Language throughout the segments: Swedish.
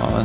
Ja,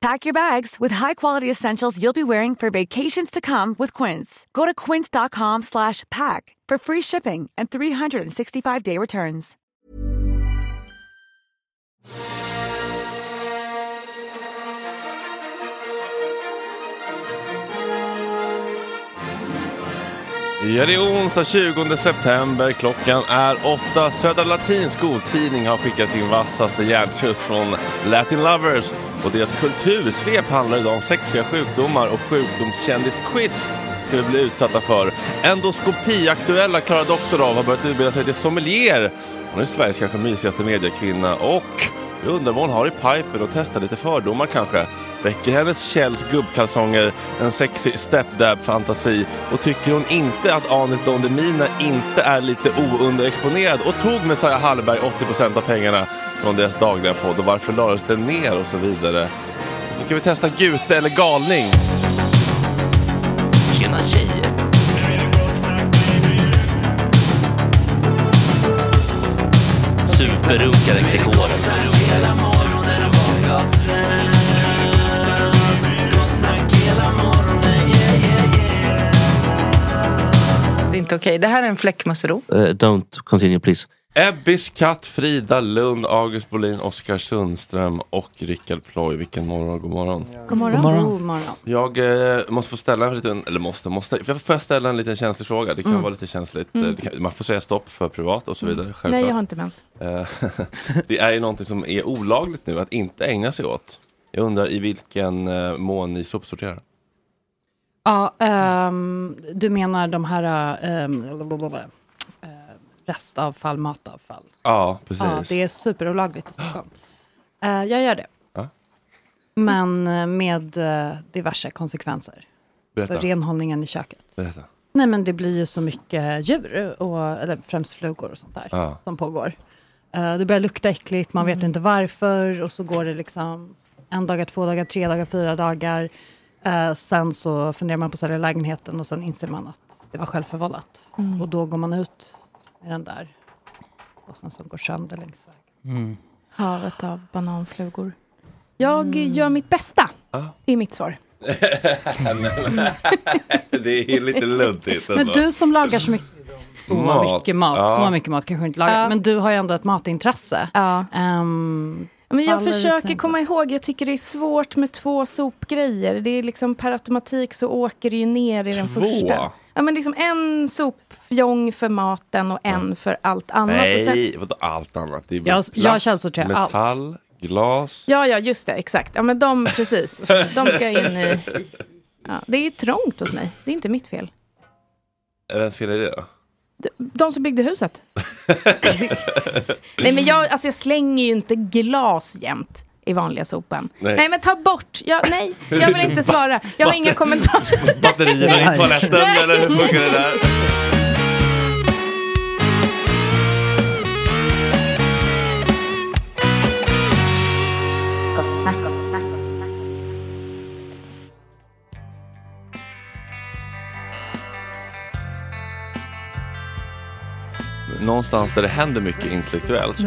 Pack your bags with high-quality essentials you'll be wearing for vacations to come with Quince. Go to quince.com/pack slash pack for free shipping and 365-day returns. Ja, det är onsdag 20 september. Klockan är åtta. Södra Latin skoltidning har skickat sin vassaste hjärntjust från Latin Lovers. Och deras kultursvep handlar idag om sexiga sjukdomar och sjukdomskändisquiz ska vi bli utsatta för. Endoskopiaktuella Klara Doktorov har börjat utbilda sig till sommelier. Hon är Sveriges kanske mysigaste mediekvinna och Jag undrar vad hon har i pipen och testar lite fördomar kanske. Väcker hennes Kjells gubbkalsonger en sexy stepdab-fantasi och tycker hon inte att Anis Don Demina inte är lite ounderexponerad och tog Messiah Hallberg 80% av pengarna från deras dagliga podd och varför lades den ner och så vidare. Nu kan vi testa gute eller galning. Tjena tjejer! Superrunkaren Gregor. Det är inte okej. Det här är en fläckmussero. Eh, don't continue please. Ebbis katt, Frida Lund, August Bolin, Oskar Sundström och Rickard Ploy. Vilken morgon, god morgon. God morgon. God morgon. Jag eh, måste få ställa en liten, eller måste, måste, får jag- får jag ställa en liten känslig fråga? Det kan vara lite känsligt. Eh, det kan, man får säga stopp för privat och så vidare. Mm. Nej, jag har Självklart. inte mens. Eh, det är ju någonting som är olagligt nu att inte ägna sig åt. Jag undrar i vilken eh, mån ni sopsorterar. Ja, ehm, du menar de här ehm, blablabla, eh, restavfall, matavfall. Ja, precis. Ja, det är superolagligt i Stockholm. Eh, jag gör det. Ja. Men eh, med eh, diverse konsekvenser för Berätta. renhållningen i köket. Berätta. Nej, men det blir ju så mycket djur, och, eller främst flugor och sånt där, Ja. som pågår. Eh, det börjar lukta äckligt, man vet inte varför, och så går det liksom en dag, två dagar, tre dagar, fyra dagar. Eh, sen så funderar man på att sälja lägenheten och sen inser man att det var självförvållat. Och då går man ut med den där påsen som går sönder längs vägen. Havet av Mm. bananflugor. Jag gör mitt bästa. Det är mitt svar. Det är lite luddigt Men ändå. du som lagar så mycket, så Mat. mycket mat, Ja. så mycket mat kanske du inte lagar, Ja. men du har ju ändå ett matintresse. Ja. Ehm, Men jag faller i försöker sängen. komma ihåg, jag tycker det är svårt med två sopgrejer. Det är liksom per automatik så åker det ju ner i den Två? första. Ja, men liksom en sopfjong för maten och en för allt annat. Och sen, Nej, vadå allt annat? Det är väl Jag- plast, jag källsorterar allt. metall, glas. ja, ja, just det, exakt. Ja, men de, precis. De ska in i... Ja, det är trångt hos mig, det är inte mitt fel. Vems fel är det då? De- De som byggde huset. Nej men jag, alltså jag slänger ju inte glas jämt i vanliga sopen. Nej. Nej, men ta bort. Jag, nej, jag vill inte svara. Jag har inga kommentarer. Batterierna i Nej. toaletten Nej. eller hur funkar det där? Någonstans där det händer mycket intellektuellt,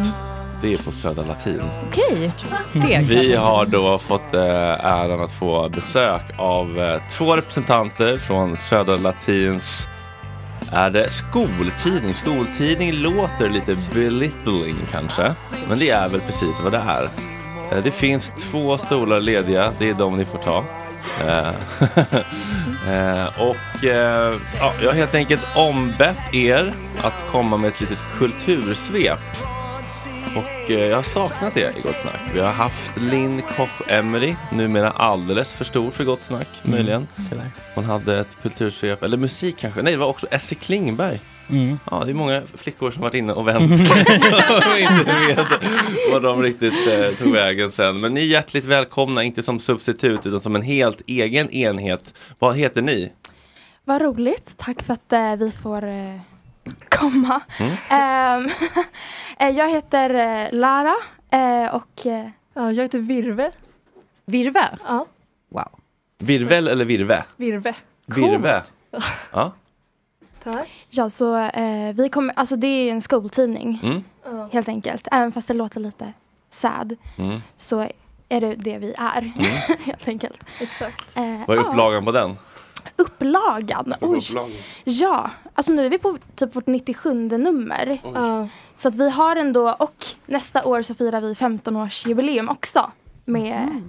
det är på Södra Latin. Okej, det kan Vi har då fått eh, äran att få besök av eh, två representanter från Södra Latins är det skoltidning? Skoltidning låter lite belittling kanske, men det är väl precis vad det är. Eh, Det finns två stolar lediga, det är de ni får ta. Eh, eh, och eh, ja, jag har helt enkelt ombett er att komma med ett litet kultursvep och eh, jag har saknat det i Gott Snack. Vi har haft Linn Koch Emery, numera alldeles för stor för Gott Snack, möjligen. Hon hade ett kultursvep, eller musik kanske. Nej, det var också Essie Klingberg. Mm. Ja, det är många flickor som varit inne och vänt och inte vet vad de riktigt eh, tog vägen sen. Men ni är hjärtligt välkomna, inte som substitut utan som en helt egen enhet. Vad heter ni? Vad roligt. Tack för att eh, vi får eh, komma. Mm. Ehm, eh, jag heter eh, Lara eh, och... Eh, ja, jag heter Virve. Virve? Ja. Wow. Virvel eller Virve? Virve. Virve. Ja. Ja, så eh, vi kommer... Alltså det är ju en skoltidning, Mm. helt enkelt. Även fast det låter lite sad, Mm. så är det det vi är, helt enkelt. Exakt. Eh, Vad är ja. upplagan på den? Upplagan? Oj. Ja, alltså nu är vi på typ vårt 97 nummer. Så att vi har ändå, och nästa år så firar vi 15-årsjubileum också med,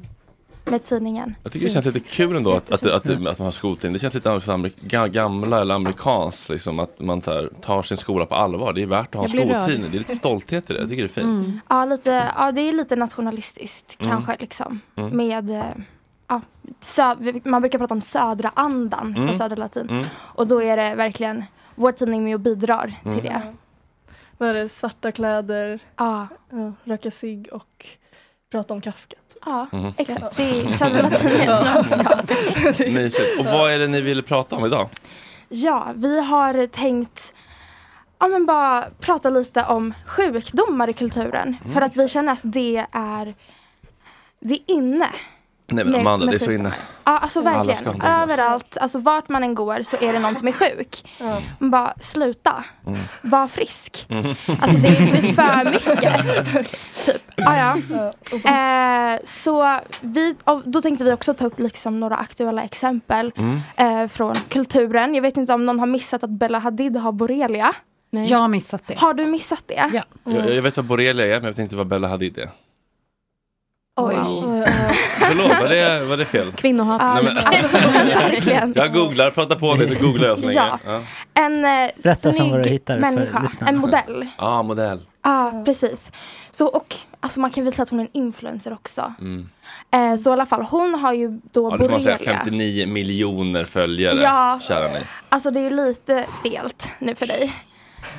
med tidningen. Jag tycker det känns lite kul ändå att, att, att, att man har skoltidning. Det känns lite som amerik- ga- gamla eller amerikanskt. Liksom, att man så här, tar sin skola på allvar. Det är värt att ha en Jag blir rörd. skoltidning. Det är lite stolthet i det. Jag tycker det är fint. Mm. Ja, lite, ja det är lite nationalistiskt kanske liksom. Med, eh, ja, sö- vi- man brukar prata om södra andan Mm. på södra latin. Och då är det verkligen vår tidning med och bidrar Mm. till det. Vad är det, svarta kläder, Ja, röka sig och prata om Kafka. Ja, Mhm. exakt. Det är Södra Latin i ett nötskal. Mysigt. Och vad är det ni ville prata om idag? Ja, vi har tänkt ja, men bara prata lite om sjukdomar i kulturen. Mm. För att vi känner att det är, det är inne. Nej men Med- Amanda, med det är så sjukdomar. inne. Ja, alltså Alla ska verkligen. ha en diagnos. Överallt, alltså vart man än går så är det någon som är sjuk. Man bara, sluta. Mm. Var frisk. Mm. Alltså det blir för mycket. typ. Ah, ja. eh, så vi, och då tänkte vi också ta upp liksom några aktuella exempel Mm. eh, från kulturen. Jag vet inte om någon har missat att Bella Hadid har borrelia. Jag har missat det. Har du missat det? Ja. Jag, jag vet vad borrelia är, men jag vet inte vad Bella Hadid är. Oj. Förlåt, var det, var det fel? Kvinnohat. Ja, Nej, men- alltså, verkligen. Jag googlar, prata på nu, så googlar jag så länge. Ja. En eh, Berätta sen vad du snygg hittar för människa, lyssnarna. en modell. Ah, modell. Ja, precis. Så, och, alltså, man kan väl säga att hon är en influencer också. Mm. Eh, så i alla fall, hon har ju då Ja, det får man säga, borrelia. 59 miljoner följare, Ja. kära ni. Alltså det är ju lite stelt nu för dig.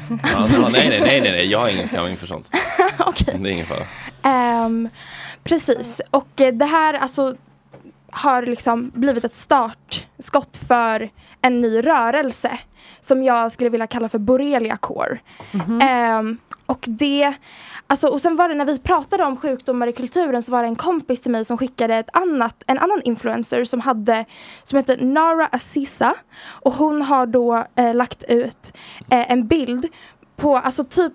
Ja, ja, nej, nej, nej, nej, nej, jag har ingen skam inför sånt. Det är ingen fara. Ehm, precis, och eh, det här alltså har liksom blivit ett startskott för en ny rörelse som jag skulle vilja kalla för Borrelia Core. Ehm, och det, alltså, och sen var det när vi pratade om sjukdomar i kulturen så var det en kompis till mig som skickade ett annat, en annan influencer som hade, som heter Nara Aziza och hon har då eh, lagt ut eh, en bild på, alltså typ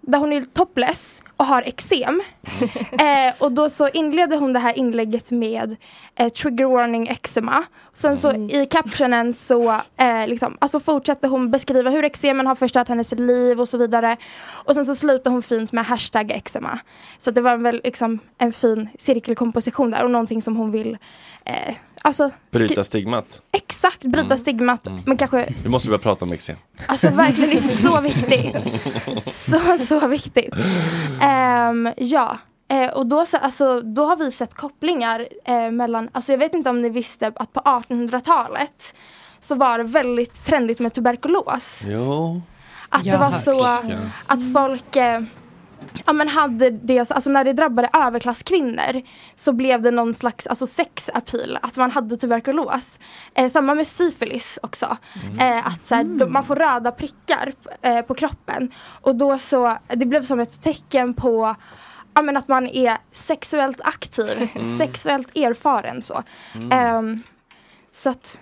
där hon är topless och har eksem. eh, och då så inleder hon det här inlägget med eh, trigger warning eczema. Sen så i captionen så eh, liksom, alltså fortsätter hon beskriva hur eksemen har förstört hennes liv och så vidare. Och sen så slutar hon fint med hashtag eczema. Så att det var väl liksom en fin cirkelkomposition där och någonting som hon vill eh, alltså, skri- Bryta stigmat. exakt bryta Mm. stigmat. Men kanske, Vi måste börja prata om eksem. alltså verkligen det är så viktigt. Så, så viktigt. Ehm, ja, Eh, och då, så, alltså, då har vi sett kopplingar eh, mellan, alltså jag vet inte om ni visste att på 1800-talet så var det väldigt trendigt med tuberkulos. Jo. Att Jag det var har så hört det. att folk eh, ja, men hade det, alltså när det drabbade överklasskvinnor så blev det någon slags alltså sexappeal, att man hade tuberkulos. Eh, samma med syfilis också, eh, att så här, de, man får röda prickar eh, på kroppen och då så, det blev som ett tecken på Ja, men att man är sexuellt aktiv, Mm. sexuellt erfaren så. Mm. Ehm, så att,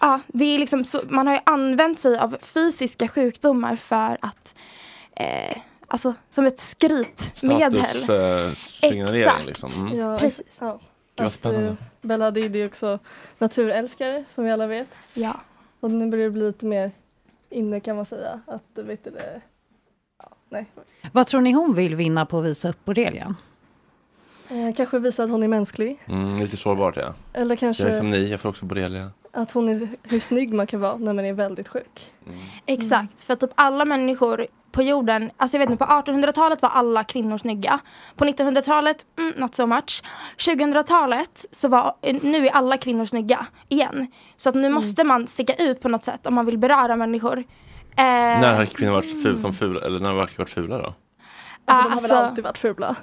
ja, det är liksom så, man har ju använt sig av fysiska sjukdomar för att, eh, alltså som ett skrytmedel. eh, Statussignalering liksom. Mm. Ja, Precis. ex- Ja. Gud, vad Att, spännande. eh, Bella Hadid är ju också naturälskare som vi alla vet. Ja. Och nu börjar det bli lite mer inne kan man säga. Att vet du det, ja, nej. Vad tror ni hon vill vinna på att visa upp borrelian? Eh, kanske visa att hon är mänsklig. Mm, lite sårbart ja. Eller kanske- Jag är som ni, jag får också borrelia. Att hon är, hur snygg man kan vara när man är väldigt sjuk. Mm. Exakt, för typ alla människor på jorden, alltså jag vet inte, på 1800-talet var alla kvinnor snygga. På 1900-talet, mm, not so much. 2000-talet, så var, nu är alla kvinnor snygga igen. Så att Mm. nu måste man sticka ut på något sätt om man vill beröra människor. Eh, När har kvinnor varit ful, som fula, eller när har kvinnor varit fula då? Alltså, de har väl alltså- alltid varit fula.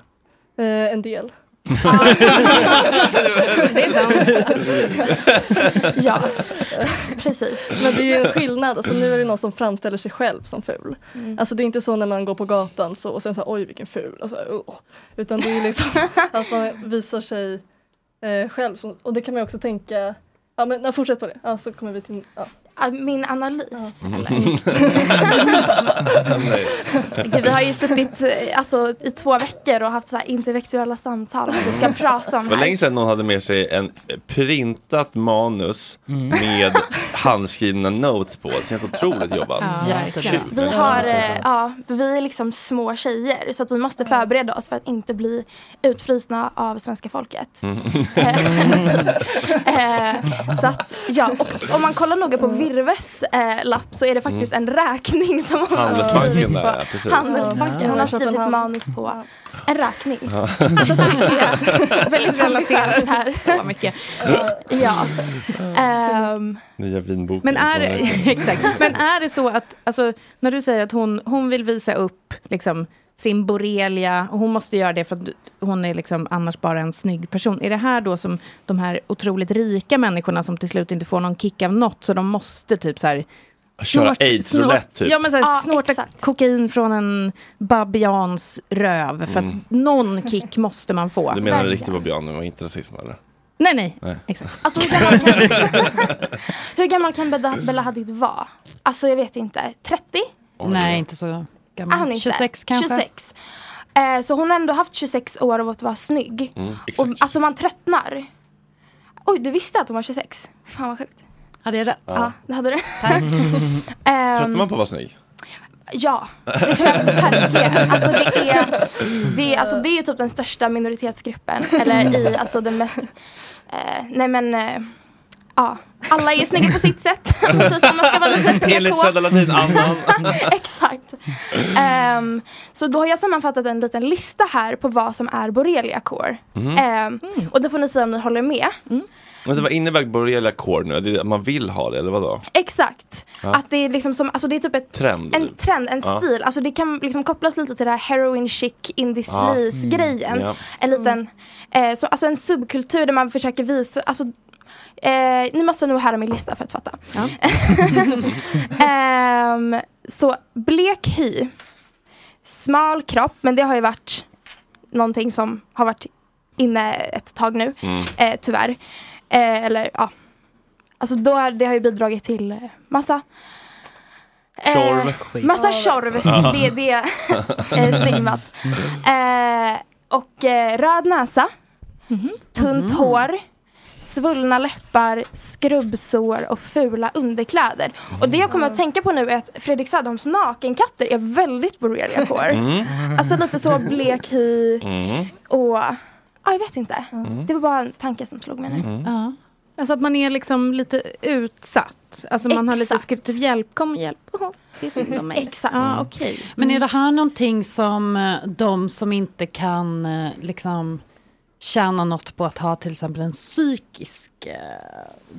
Eh, en del. Det är sant. ja, precis. Men det är ju en skillnad, alltså, nu är det någon som framställer sig själv som ful. Mm. Alltså det är inte så när man går på gatan så, och sen så här, oj vilken ful, och så här, "Ugh." utan det är liksom att man visar sig eh, själv. Som, och det kan man ju också tänka, ja men ja, fortsätt på det, ja, så kommer vi till, ja. Ah, Min analys. Nej. Gud, vi har ju suttit eh, alltså, i två veckor och haft så här intellektuella samtal om Mm. vad vi ska prata om Det var länge här. sedan någon hade med sig en printat manus med handskrivna notes på. Det känns otroligt jobbat. Kul. Vi, har, eh, ja, vi är liksom små tjejer så att vi måste förbereda oss för att inte bli utfrysna av svenska folket. Eh, så att, ja, och om man kollar noga på Virves eh, lapp så är det faktiskt en räkning som hon har Mm. Handelsbanken skrivit där, ja, på. precis. Handelsbanken, hon har skrivit ett manus på en räkning. Så det är väldigt relaterat här. Så mycket. ja. Ehm, Nya vinboken. Men är, exakt. Men är det så att, alltså, när du säger att hon, hon vill visa upp liksom, sin borrelia. Och hon måste göra det för att hon är liksom annars bara en snygg person. Är det här då som de här otroligt rika människorna som till slut inte får någon kick av något, så de måste typ så här Köra snort- aids-roulette, snort- typ. Ja, men så här, Ja, snorta kokain från en babians röv. För Mm. att någon kick måste man få. Du menar en riktig babian, det var inte rasism eller? Nej, nej. Nej. Exakt. Alltså, hur, gammal kan, hur gammal kan Bella- Bella Hadid vara? Alltså jag vet inte. 30? Nej, inte så Ah, Ah, Är hon gammal. inte? 26 kanske. 26. Eh, så hon har ändå haft 26 år av att vara snygg. Mm, och, exakt. alltså man tröttnar. Oj, du visste att hon var 26? Fan vad sjukt. Hade jag rätt? Ja, Ja. det hade du. Tröttnar Ehm, man på att vara snygg? Ja, det tror jag verkligen. Alltså det är, det är, alltså det är ju typ den största minoritetsgruppen. Eller i, alltså den mest, eh, nej men, eh, ja. Alla är ju snygga på sitt sätt. Precis som man ska vara lite PK. Enligt Södra Latin, annan. Exakt. Ehm, så då har jag sammanfattat en liten lista här på vad som är borrelia core. Mhm. Ehm, och då får ni säga om ni håller med. Men vad innebär borrelia core nu? Är det att man vill ha det eller vadå? Exakt. Ja. Att det är liksom som, alltså det är typ ett Trend? en trend, en Ja. stil. Alltså det kan liksom kopplas lite till det här heroin chic, indie Ja. sleaze grejen. Mm. Ja. En liten, eh, så, alltså en subkultur där man försöker visa, alltså eh, ni måste nog höra min lista för att fatta. Ehm, så blek hy, smal kropp, men det har ju varit någonting som har varit inne ett tag nu, Mm. eh, tyvärr. Eh, eller ja, alltså då, har- det har ju bidragit till eh, massa Tjorv. Eh, massa tjorv. Ja. Det, det är eh, stigmat. Eh, och eh, röd näsa. Tunt Mm. hår. Svullna läppar, skrubbsår och fula underkläder. Och det jag kommer att tänka på nu är att Fredrik Söderholms nakenkatter är väldigt borrelia core. Mm. Alltså lite så blek hy Mm. och... Ja, jag vet inte. Mm. Det var bara en tanke som slog mig nu. Mm. Alltså att man är liksom lite utsatt. Alltså man har lite Exakt. skrivit typ hjälp, kom hjälp. Oh, det är synd om mig. Exakt. Ja, okej. Men Mm. är det här någonting som eh, de som inte kan eh, liksom tjäna något på att ha till exempel en psykisk eh,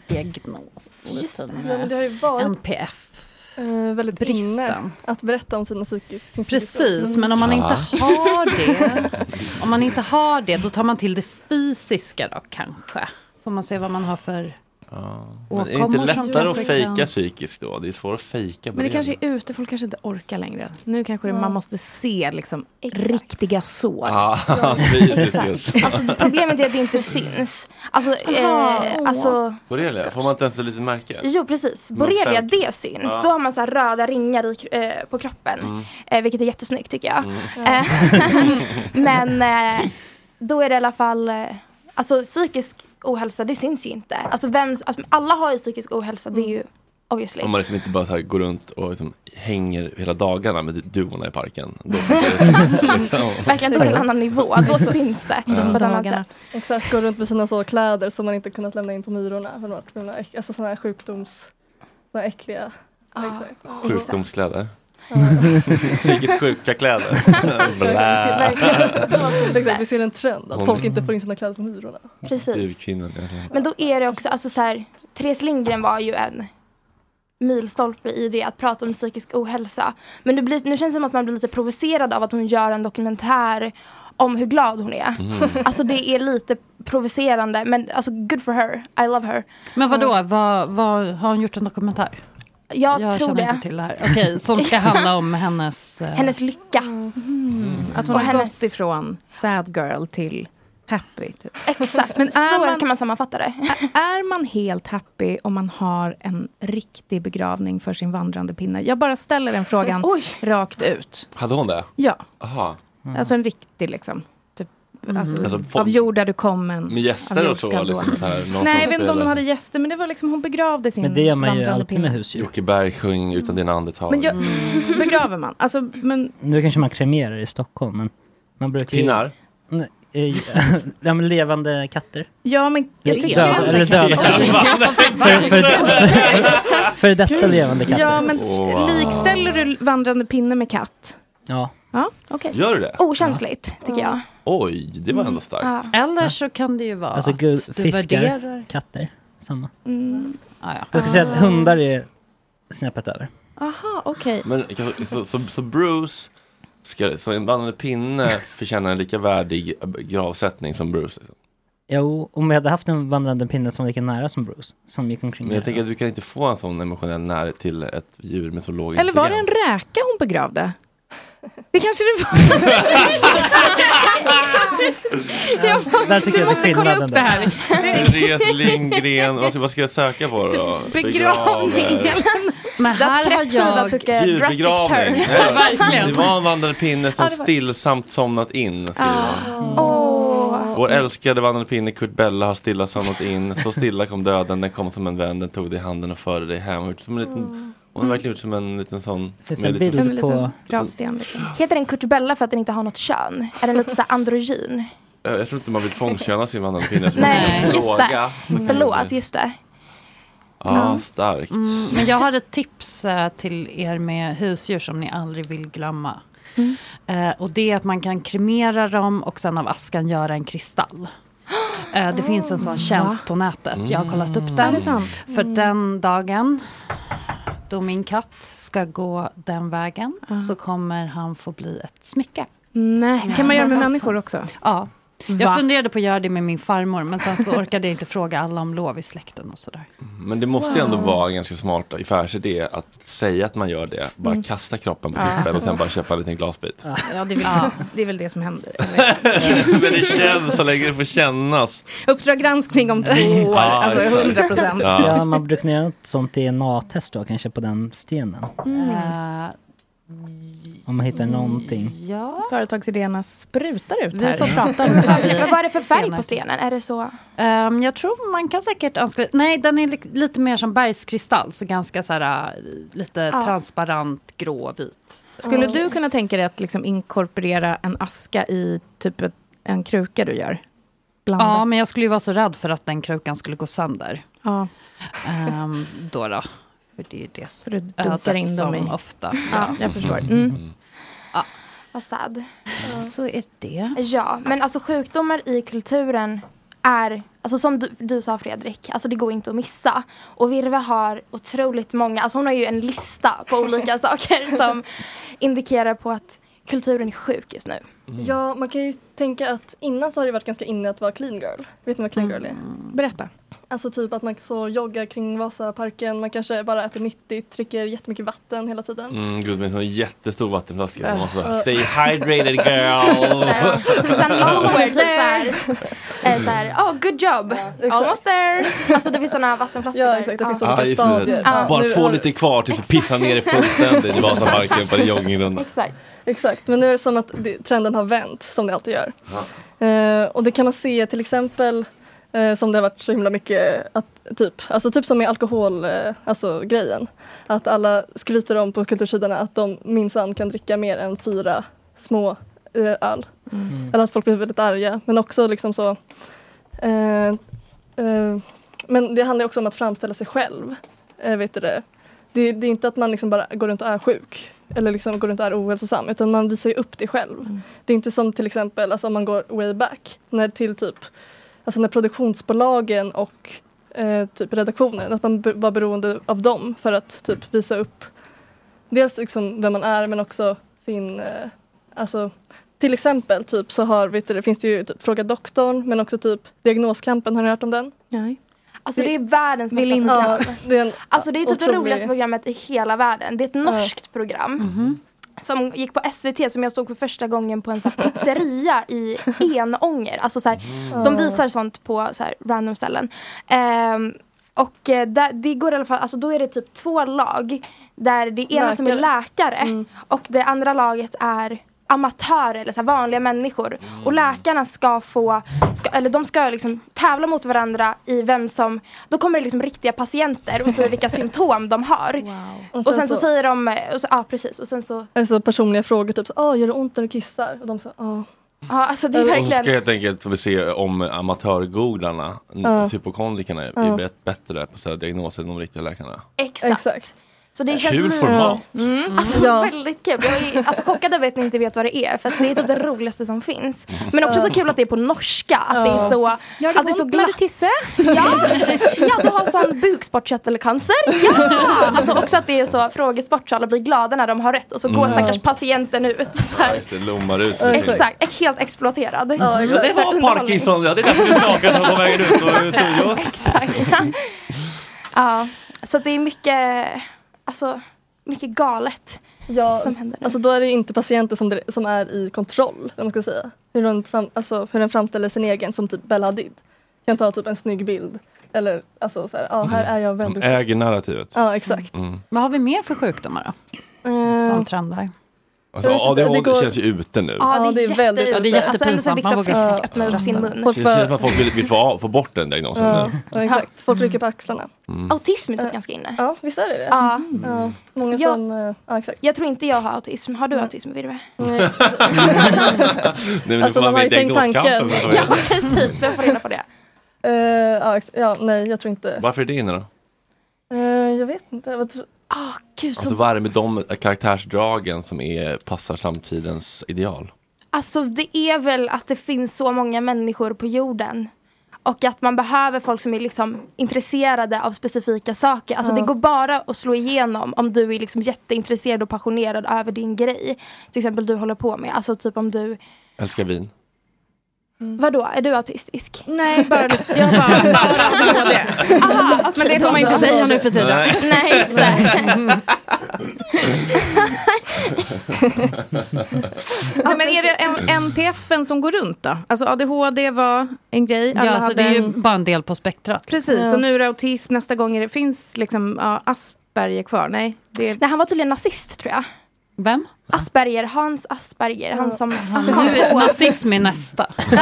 diagnos? eh, Just det. En, Ja, men det har ju varit NPF. eh, väldigt Bristen. inne att berätta om sina psykiska sin Precis, men om man inte har det, om man inte har det, då tar man till det fysiska då kanske. Får man se vad man har för... Ja. Men är det inte Åkommor som lättare att kanske fejka kan- psykiskt då? Det är svårare att fejka Men det borrelia. kanske är ute, folk kanske inte orkar längre. Nu kanske det, Ja. man måste se liksom riktiga sår. Ja, fysiskt just. Alltså, problemet är att det inte syns. Alltså, Aha. eh, alltså Borrelia, får man inte ens ett litet märke? Jo precis, Men borrelia fem- det syns. Ja. Då har man så här röda ringar i, eh, på kroppen. Mm. Eh, vilket är jättesnyggt tycker jag. Mm. Eh, men eh, då är det i alla fall, eh, alltså psykisk ohälsa det syns ju inte. Alltså vem, alltså, alla har ju psykisk ohälsa, det är ju obviously. Mm. Om man liksom inte bara så här går runt och liksom hänger hela dagarna med duvorna i parken. Då blir det liksom. Verkligen, då är det en annan nivå. Då syns det. Mm. Ja. På ett annat Dagarna. sätt. Exakt, gå runt med sina så kläder som man inte kunnat lämna in på myrorna. För de har varit så himla äck- alltså sådana här sjukdoms... Sådana här äckliga. Ah. Exakt. Sjukdomskläder. Psykiskt sjuka kläder. Vi ser, Blä. verkligen- exakt, vi ser en trend att Hon- folk inte får in sina kläder på myrorna. Precis. Duvkvinnan. Men då är det också, alltså så här, Therese Lindgren var ju en milstolpe i det, att prata om psykisk ohälsa. Men nu, blir, nu känns det som att man blir lite provocerad av att hon gör en dokumentär om hur glad hon är. Mm. Alltså det är lite provocerande, men alltså good for her. I love her. Men vadå, vad, vad, har hon gjort en dokumentär? Jag, tror känner det. inte till det här. Okej, som ska handla om hennes... eh, Hennes lycka. Mm. Att hon Och har hennes- gått ifrån sad girl till happy. Typ. Exakt, Men är så man- kan man sammanfatta det. Ä- Är man helt happy om man har en riktig begravning för sin vandrande pinne? Jag bara ställer den frågan rakt ut. Hade hon det? Ja, Aha. Mm. alltså Mm. en riktig liksom. Typ, alltså, Alltså, folk- av jord där du kom en. Med gäster av jord och så, ska du gå. liksom så här, någon Nej, som jag vet inte om de spelar. hade gäster, men det var liksom, hon begravde sin Men det gör man ju vandrande alltid med pinne. husdjur. Jocke Berg sjöng Utan dina andetag. Men jag, begraver man? Alltså, men Nu kanske man kremerar i Stockholm, men man brukar ju... Pinnar? Nej, eh, ja, men levande katter. Ja, men... Helt döda, eller döda katter. för, för, för, för detta levande katter. Ja, men Wow. likställer du vandrande pinne med katt? Ja. Ja, okej. Gör du det? Okänsligt, tycker jag. Oj, det var ändå starkt. Eller så kan det ju vara Alltså gud, att du fiskar, värderar... katter, samma. Mm. Jag skulle säga att hundar är snäppet över. Aha, okej. Men, så, så, så Bruce Ska, så en vandrande pinne förtjänar en lika värdig gravsättning som Bruce. Liksom. Jo, om jag hade haft en vandrande pinne som var lika nära som Bruce, som gick omkring Men jag tänker att du kan inte få en sån emotionell närhet till ett djur med så låg Eller var det en intelligens. räka hon begravde? Det kanske det var. jag Där bara, tycker jag du det är måste kolla skillnaden upp där. det här. Therese Lindgren, vad ska, vad ska jag söka på då? Begraver. Men här har jag... took a drastic turn. Djurbegravning. Ja, Det var en vandrande pinne som Ja, det var- stillsamt somnat in. skriver hon. Åh. Vår älskade vandrande pinne Kurt Bella har stilla somnat in. Så stilla kom döden, den kom som en vän, den tog dig i handen och förde dig hem. Ut Som en liten, hon har verkligen gjort som en liten sån. Finns med en liten- bild på- Gravsten liksom. Heter den Kurtibella för att den inte har något kön? Är den lite så här androgyn? Eh, Jag tror inte man vill tvångsköna sin vandrande pinne. så man Nej, kan just fråga. det. Så kan man Förlåt, bli- just det. Ja, starkt. Mm, men jag har ett tips eh, till er med husdjur som ni aldrig vill glömma. Mm. Eh, och det är att man kan kremera dem och sen av askan göra en kristall. Eh, det finns en sån tjänst på nätet. Jag har kollat Mm. upp den. Är det sant? Mm. För den dagen då min katt ska gå den vägen så kommer han få bli ett smycke. Nej, kan man göra med människor också? Ja. Va? Jag funderade på att göra det med min farmor men sen så orkade jag inte fråga alla om lov i släkten och sådär. Men det måste ju ändå vara en ganska smart affärsidé att säga att man gör det. Bara Mm. kasta kroppen på Ja. tippen och sen bara köpa en liten glasbit. Ja, det är väl, det, är väl det som händer. Men det känns så länge det får kännas. Uppdrag granskning om två år, Mm. Ja, alltså exakt. 100 procent. Ja. Ja, man brukar kunna göra något sånt DNA-test då kanske på den stenen. Eh, Om man hittar någonting. Ja. Företagsidéerna sprutar ut Vi här. får prata om det här. Vad är det för färg på Senare. stenen? Är det så? Ehm, jag tror man kan säkert önska... Nej, den är li lite mer som bergskristall. Så ganska så här, äh, lite Ja. transparent grå och vit. Skulle du kunna tänka dig att liksom inkorporera en aska i typ ett, en kruka du gör? Blanda. Ja, men jag skulle ju vara så rädd för att den krukan skulle gå sönder. Ja. Ehm, då då. För det är ju det så du dunkar in dem som i- ofta. Ja, jag förstår. Mm. Ja. Vad sad. Så är det. Ja, men alltså sjukdomar i kulturen är, alltså som du, du sa Fredrik, alltså det går inte att missa. Och Virve har otroligt många, alltså hon har ju en lista på olika saker som indikerar på att kulturen är sjuk just nu. Mm. Ja, man kan ju tänka att innan så har det varit ganska inne att vara clean girl. Vet ni vad Mm. clean girl är? Berätta. Alltså typ att man så joggar kring Vasaparken, man kanske bara äter nyttigt, dricker jättemycket vatten hela tiden. Mm, gud, men en sån jättestor vattenflaska. Man måste Äh. bara, Stay hydrated girl! Så vi sen lower typ såhär, eh, såhär, oh good job, almost there. Alltså det finns sådana vattenflaskor. Ja, exakt, det finns Ja, olika just det. stadier. Ja. Bara Nu två har- liter kvar tills du pissar ner dig fullständigt i Vasaparken på din joggingrunda. Exakt. Exakt, men nu är det som att det, trenden har vänt som det alltid gör. Ja. Eh, och det kan man se till exempel eh, som det har varit så himla mycket att, typ, alltså typ som med alkohol, eh, alltså grejen. Att alla skryter om på kultursidorna att de minsann kan dricka mer än fyra små eh, öl. Eller att folk blir väldigt arga men också liksom så eh, eh, Men det handlar ju också om att framställa sig själv. Eh, vet du det? Det, det är inte att man liksom bara går runt och är sjuk eller liksom går runt och är ohälsosam utan man visar ju upp det själv. Det är inte som till exempel alltså om man går way back när till typ alltså när produktionsbolagen och eh, typ redaktionen att man be- var beroende av dem för att typ visa upp dels liksom vem man är men också sin eh, alltså till exempel typ så har vet du, det finns det ju typ, Fråga doktorn men också typ Diagnoskampen har ni hört om den? Nej. Alltså det är världens Vill bästa inte. program. det är en Alltså det är typ det otrolig- roligaste programmet i hela världen. Det är ett norskt program. Mhm. Som gick på SVT som jag stod för första gången på en så här pizzeria i Enånger. Alltså så här, de visar sånt på så här random ställen. Ehm, och eh, där, det går i alla fall, alltså då är det typ två lag. Där det ena som är läkare och det andra laget är amatörer eller så här vanliga människor. Och läkarna ska få, ska, eller de ska liksom tävla mot varandra i vem som, då kommer det liksom riktiga patienter och säger vilka symptom de har. Och sen så, säger de, eh, och så, ja precis, och sen så, Eller så personliga frågor typ så, ah, gör det ont när du kissar? Och de "Ah." sa ja. ja alltså det är Och så ska jag verkligen, helt enkelt vi se om amatörgooglarna, Ja. typokondrikerna, Ja. är bet- bättre på att ställa diagnoser än de riktiga läkarna. exakt. Exakt. Så det känns Kul lite- format. Mm. Alltså Ja. väldigt kul. Jag är alltså, chockad över att ni inte vet vad det är. För att det är typ det roligaste som finns. Men också så kul att det är på norska. Att det är så, Ja, att det är så golvblad glatt. Ja. ja, du har sån bukspottkörtelcancer. Ja! Alltså också att det är så frågesport så alla blir glada när de har rätt. Och så går Mm. stackars patienten ut. Så här. Just det, lommar ut. Exakt, Ex- helt exploaterad. Ja, exakt. Ja, det var Parkinson, ja, det är därför du skakade på vägen ut och- och tog Exakt. ja, så det är mycket, alltså, mycket galet Ja, som händer nu. Alltså då är det ju inte patienter som, dire- som är i kontroll, eller vad man ska säga. Hur den, fram, alltså, hur den framställer sin egen som typ Bella Hadid. Kan ta typ en snygg bild. Eller alltså så här, ja här är jag väldigt... Mm. Äger narrativet. Ja exakt. Mm. Vad har vi mer för sjukdomar då? Eh, Som trender. Alltså, Jag vet inte, ADHD det går- känns ju ute nu. Ja, det är, Ja, det är väldigt väldigt- Ja, det är Alltså, jättepinsamt. Viktor Man vågar Frisk inte öppnar upp sin mun. Det känns som att folk vill, vill få, av- få bort den diagnosen. Ja, nu. ja, exakt, folk rycker på axlarna. Mm. Autism är typ ganska inne. Ja visst är det Mm. det? Ja. Ja, många Ja. som... eh, Ja exakt. Mm. Jag tror inte jag har autism. Har du autism Virve? Nej. Nej, men nu Alltså, man får man har med ju tänkt diagnoskampen. tanken. förstår Ja jag. precis, vem får reda på det? Eh, ja, ex- ja, nej jag tror inte. Varför är det inne då? Eh, jag vet inte. Vad tror... Ah, gud. Alltså, vad är det med de karaktärsdragen som är, passar samtidens ideal? Alltså det är väl att det finns så många människor på jorden. Och att man behöver folk som är liksom intresserade av specifika saker. Alltså Ja. det går bara att slå igenom om du är liksom jätteintresserad och passionerad över din grej. Till exempel du håller på med. Alltså typ om du, Älskar vin. vadå, är du autistisk? Mm. Nej, bara lite. Jag bara, bara på det. Aha, okej, Men det får då man ju inte så. säga nu för tiden. Nej. Nej, just det. Nej, men är det en- NPFen som går runt då? Alltså ADHD var en grej. Alla ja, så hade det är ju en... bara en del på spektrat. Precis, Ja. och nu är det autism. Nästa gång är det, finns liksom ja, Asperger kvar. Nej, det är... Nej, han var tydligen nazist tror jag. Vem? Asperger, Hans Asperger. Han som Nu kom är på- nazism i nästa.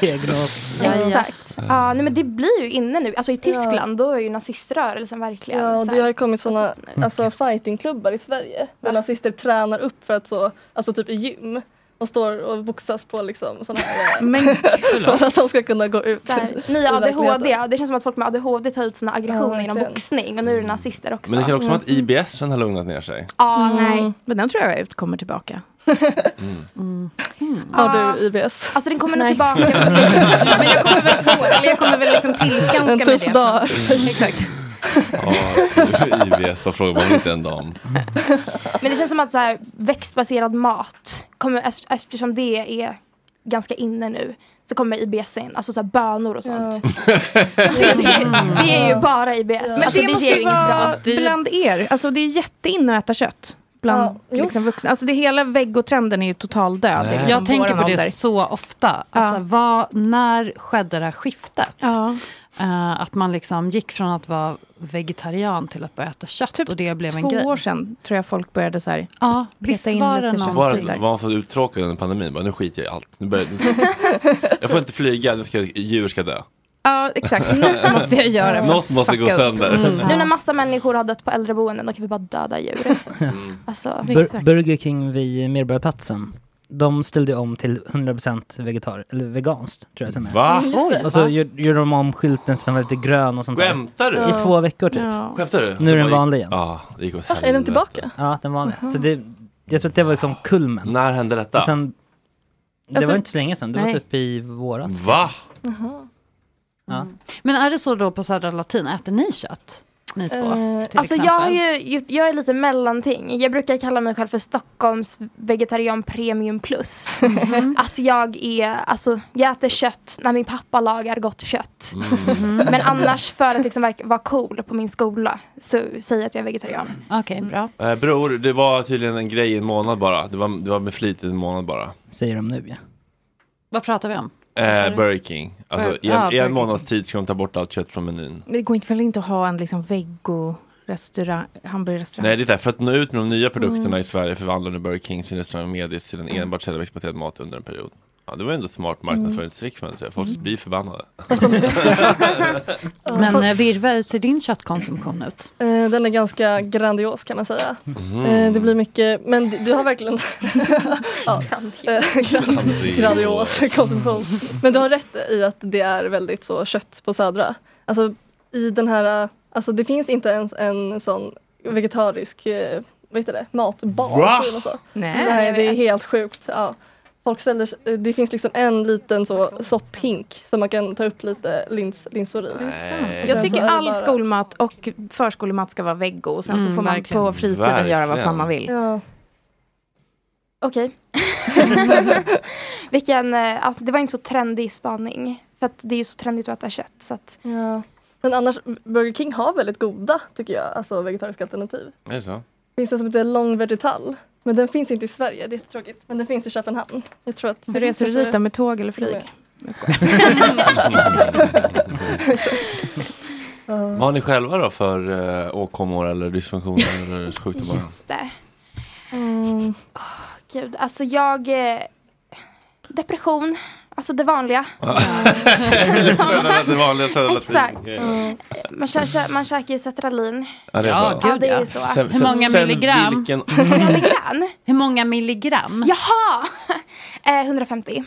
Diagnos. Ja, Exakt. Ja, nej, men det blir ju inne nu. Alltså i Tyskland då är ju naziströrelsen verkligen Ja, så och här. det har ju kommit sådana alltså, fightingklubbar i Sverige där nazister tränar upp för att så, alltså typ i gym. De står och boxas på liksom sådana här... Men för att de ska kunna gå ut. Så här, i nya ADHD, verkligheten. det känns som att folk med ADHD tar ut sina Ja, aggressioner verkligen. genom boxning och nu är det nazister också. Men det känns också som att IBSen har lugnat ner sig. Ja, nej. Men den tror jag ut kommer tillbaka. Mm. Har du IBS? Alltså den kommer nog Nej. tillbaka. Men jag kommer väl få, eller jag kommer väl liksom tillskanska En mig det. tuff dag. Mm. snart. Exakt. Ja, IBS, vad frågar man inte en dam? Men det känns som att så här, växtbaserad mat, kommer, eft- eftersom det är ganska inne nu, så kommer IBS in. Alltså så här, bönor och sånt. Alltså, det, är- det är ju bara IBS. Men Alltså, det, det måste ger ju ju inget bra. vara bland er. Alltså det är ju jätteinne att äta kött. Bland Ja, jo. liksom vuxna. Alltså det hela vegotrenden är ju total död. i liksom Jag tänker våran på det ålder. så ofta. Att Ja. så här, vad, när skedde det här skiftet? Ja. Eh, att man liksom gick från att vara vegetarian till att börja äta kött och det blev en Typ Två grej. år sedan tror jag folk började så här. Ja, Peta visst in var det lite någon- kött. Var typ där. det- var man så uttråkad under pandemin? Bara, nu skiter jag i allt. Nu börjar, nu, jag får inte flyga, nu ska, djur ska dö. Ja exakt, något måste jag göra. för Något att måste fucka gå upp. Mm. sönder. Mm. Nu när massa människor har dött på äldreboenden, då kan vi bara döda djur. Mm. Alltså, Bur- Burger King vid Medborgarplatsen. De ställde om till 100% vegetar eller veganskt tror jag till och med. Va? Mm, just det. Och så Va? gjorde gjorde de om skylten så den var lite grön och sånt där. Skämtar du? I två veckor typ. Ja. Skämtar du? Alltså, Nu är den Så bara- vanlig igen. Ja, det gick åt helvete. Är den tillbaka? Ja, den vanliga. Så det, jag tror att det var liksom kulmen. När hände detta? Och sen, det Alltså, var inte så länge sedan, det nej. var typ i våras. Va? Ja. Men är det så då på Södra Latin, äter ni kött? Ni två, Eh, till alltså exempel? jag, har ju gjort, jag är lite mellanting. Jag brukar kalla mig själv för Stockholms vegetarian premium plus. Mhm. Att jag är, alltså jag äter kött när min pappa lagar gott kött. Mm. Men annars för att liksom verka- vara cool på min skola så säger jag att jag är vegetarian. Okej, bra. Eh, bror, det var tydligen en grej i en månad bara. Det var, det var med flit i en månad bara. Säger de nu ja. Vad pratar vi om? Eh, Burger King. Alltså, i en, Ja, i Burger en månads tid ska de ta bort allt kött från menyn. Men Det går inte väl inte att ha en liksom vegorestaurang, hamburgerrestaurang? Nej, det är därför att nå ut med de nya produkterna Mm. i Sverige förvandlar nu Burger King sin restaurang Medis till en enbart källa av exporterad mat under en period. Ja, det var ju ändå ett smart marknadsföringstrick för mig, tror jag. Folk blir förbannade. Men eh, Virve, hur ser din köttkonsumtion ut? Eh, Den är ganska grandios kan man säga. Mhm. Mm. Eh, Det blir mycket, men du- du har verkligen ja, eh, grand- grandios konsumtion. Men du har rätt i att det är väldigt så kött på Södra. Alltså i den här eh, Alltså det finns inte ens en sån vegetarisk eh, vad heter det, Va? matbar. eller Så. Nej, jag det är vet. helt sjukt. Ja. Folk ställer, sig- eh, det finns liksom en liten så, sopphink som man kan ta upp lite lins, linsor i. Och sen Alltså, Jag tycker så Alltså, är det all bara- skolmat och förskolemat ska vara veggo och sen så Mm, får man verkligen. på fritiden göra vad fan man vill. Ja. Okej. Vilken, eh, alltså, det var inte så trendig spaning. För att det är ju så trendigt att äta kött. Så att, ja. Men annars, Burger King har väldigt goda, tycker jag, alltså vegetariska alternativ. Är det så? Det finns en som heter Long Vegetal. Men den finns inte i Sverige, det är tråkigt. Men den finns i Köpenhamn. Jag tror att Hur reser du dit då, med tåg eller flyg? Jag skojar. Vad har ni själva då för eh, åkommor eller dysfunktioner eller sjukdomar? just det. Mm. Gud, alltså jag... Eh, depression. Alltså det vanliga. Mm. Ja. Det vanliga södra Exakt. Eh, Man, kär, man käkar ju Cetralin. Ja, det är så. ja, det är så. Sen- sen- sen Vilken... Milligram? Hur många milligram? Jaha! Eh, 150.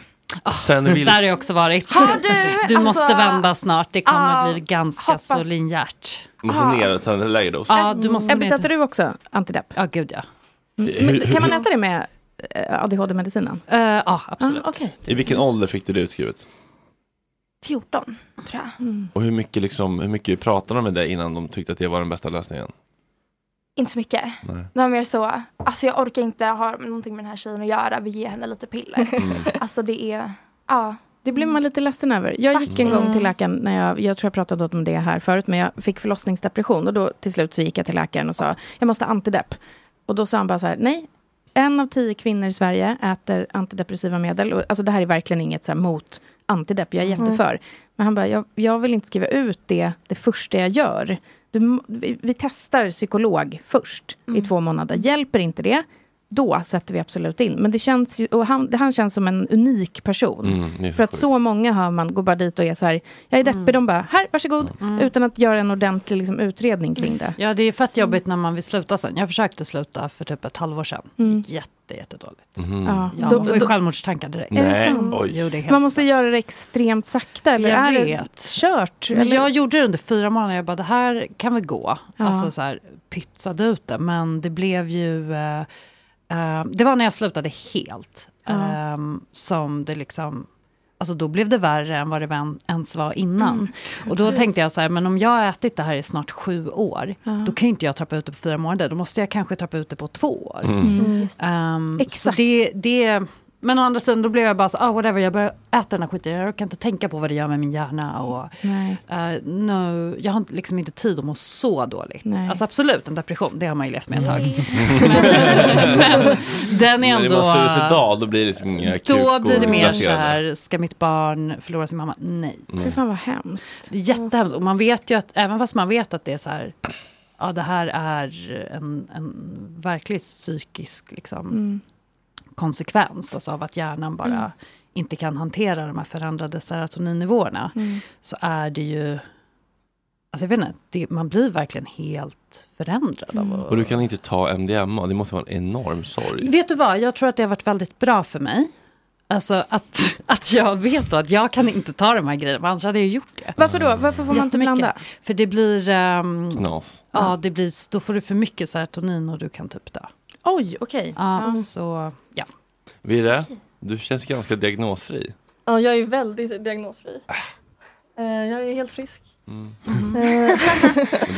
Sen vil... Där har jag också varit. Har du- du alltså- måste vända snart. Det kommer Ja, bli ganska så linjärt. Måste ner och ta en lägre dos. Ja, du måste Ebbe, satte du också antidepp? Mm, Ja, gud ja. Men, kan man äta det med eh, ADHD-medicinen? Eh, Ja, absolut. Ah, Okej, I vilken ålder fick du det utskrivet? 14, tror jag. Och hur mycket, liksom, hur mycket pratade de med dig innan de tyckte att det var den bästa lösningen? Inte så mycket. Nej. Det var mer så, alltså jag orkar inte ha någonting med den här tjejen att göra. Vi ger henne lite piller. Mm. Alltså det är, ja. Det blir man lite ledsen över. Jag gick en Faktiskt. gång till läkaren, när jag, jag tror jag pratade om det här förut, men jag fick förlossningsdepression och då till slut så gick jag till läkaren och sa, jag måste ha antidepp. Och då sa han bara så här, nej, en av tio kvinnor i Sverige äter antidepressiva medel. Och, alltså det här är verkligen inget så här, mot antidepp, jag är Nej. jätteför. Men han bara, jag, jag vill inte skriva ut det det första jag gör. Du, må- vi, vi testar psykolog först i två månader. Hjälper inte det, då sätter vi absolut in. Men det känns ju, och han, han känns som en unik person. Mm, det är För att så många hör man går bara dit och är så här, jag är deppig, de bara, här, varsågod. Utan att göra en ordentlig liksom, utredning kring det. Ja, det är fett jobbigt när man vill sluta sen. Jag försökte sluta för typ ett halvår sedan. Det Mm. gick jätte, jättedåligt. Mhm. Ja, Då- man får ju då- självmordstankar direkt. Är det Nej, sant? oj. Jo, det är helt Man måste göra det extremt sakta, eller Jag är vet. det kört? Men Eller? jag gjorde det under fyra månader. Jag bara, det här kan väl gå. Ja. Alltså så här, pytsade ut det. Men det blev ju... eh, eh, det var när jag slutade helt. Ja. eh, som det liksom... Alltså då blev det värre än vad det var- ens var innan. Mm. Och då Just. tänkte jag så här, men om jag har ätit det här i snart sju år, Ja. då kan ju inte jag trappa ut det på fyra månader. Då måste jag kanske trappa ut det på två år. Mm. Mm. Ehm, Så Exakt. det, det, men å andra sidan, då blev jag bara så, ah, whatever, jag börjar äta den här skiten. Jag kan inte tänka på vad det gör med min hjärna. Och, Nej. eh, no, jag har liksom inte tid att må så dåligt. Nej. Alltså absolut, en depression, det har man ju levt med ett tag. men den är När ändå... man är suicidal, då blir det liksom inga Då krukor blir det mer så placerade. här, ska mitt barn förlora sin mamma? Nej. Mm. Fy fan, vad hemskt. Jättehemskt. Och man vet ju att, även fast man vet att det är så här, ja det här är en, en verklig psykisk liksom, Mm. konsekvens alltså av att hjärnan bara Mm. inte kan hantera de här förändrade serotoninnivåerna. Mm. Så är det ju, alltså jag vet inte, det, man blir verkligen helt förändrad av att Mm. Och du kan inte ta MDMA, det måste vara en enorm sorg. Vet du vad, jag tror att det har varit väldigt bra för mig. Alltså att, att jag vet då att jag kan inte ta de här grejerna, annars hade jag ju gjort det. Varför då? Varför får man inte Jättemycket. blanda? För det blir... ehm, Knas. ja, det blir, då får du för mycket serotonin och du kan typ dö. Oj, okej. Ja, Ja. så ja. Virre, du känns ganska diagnosfri. Ja, jag är väldigt diagnosfri. Eh, Jag är helt frisk. Äh. Mm. Eh, Och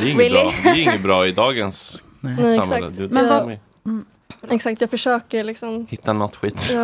Det är inget bra, det är inget bra i dagens Nej, samhälle. exakt. Du, Men vad- du- Exakt, jag försöker liksom. Hitta något skit. Ja.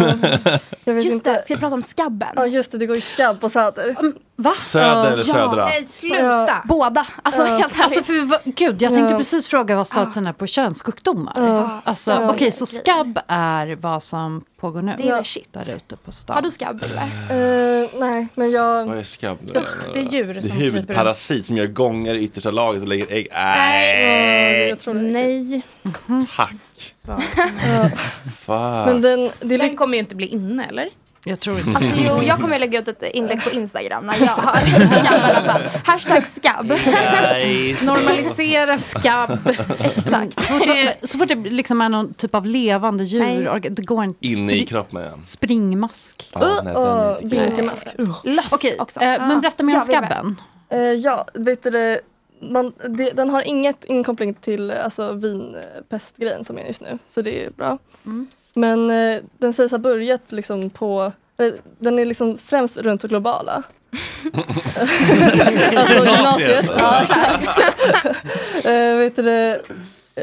Jag vet Just inte. det, ska vi prata om skabben? Ja just det, det går ju skabb på Söder. Va? Söder eller södra? sluta! Båda. Alltså Ja. helt Alltså, ärligt. för vad- Gud, jag tänkte Ja. precis fråga vad statusen är på könssjukdomar. Ja. Alltså, Ja. Okej, så skabb är vad som pågår nu? Det är the shit. Där ute på stan. Mm. Har du skabb eller? Eh, nej, men jag... Vad är skabb nu? Det är djur Det är som kryper hudparasit som gör gångar i yttersta lagret och lägger ägg. Nej. Nej! Nej. Tack! Fan. Men den, den kommer ju inte bli inne, eller? Jag tror inte. Alltså jo, jag kommer lägga ut ett inlägg på Instagram när jag har skabb i alla fall. Hashtag skabb. Nice. Normalisera skabb. Exakt. Så fort det, så fort det liksom är någon typ av levande djur, Nej. orga- det går en Inne i spri- kroppen igen. springmask. Ja, nej, den är inte kul. Nej. Binkermask. eh, Ah. Okej, eh, men berätta mer om skabben. Eh, ja, vet du det, man, det, den har inget, ingen koppling till alltså, vinpestgrejen som är just nu, så det är bra. Hmm? Men eh, den sägs ha börjat liksom på, eh, den är liksom främst runt det globala. alltså gymnasiet. ja, exakt. eh, vet du, det?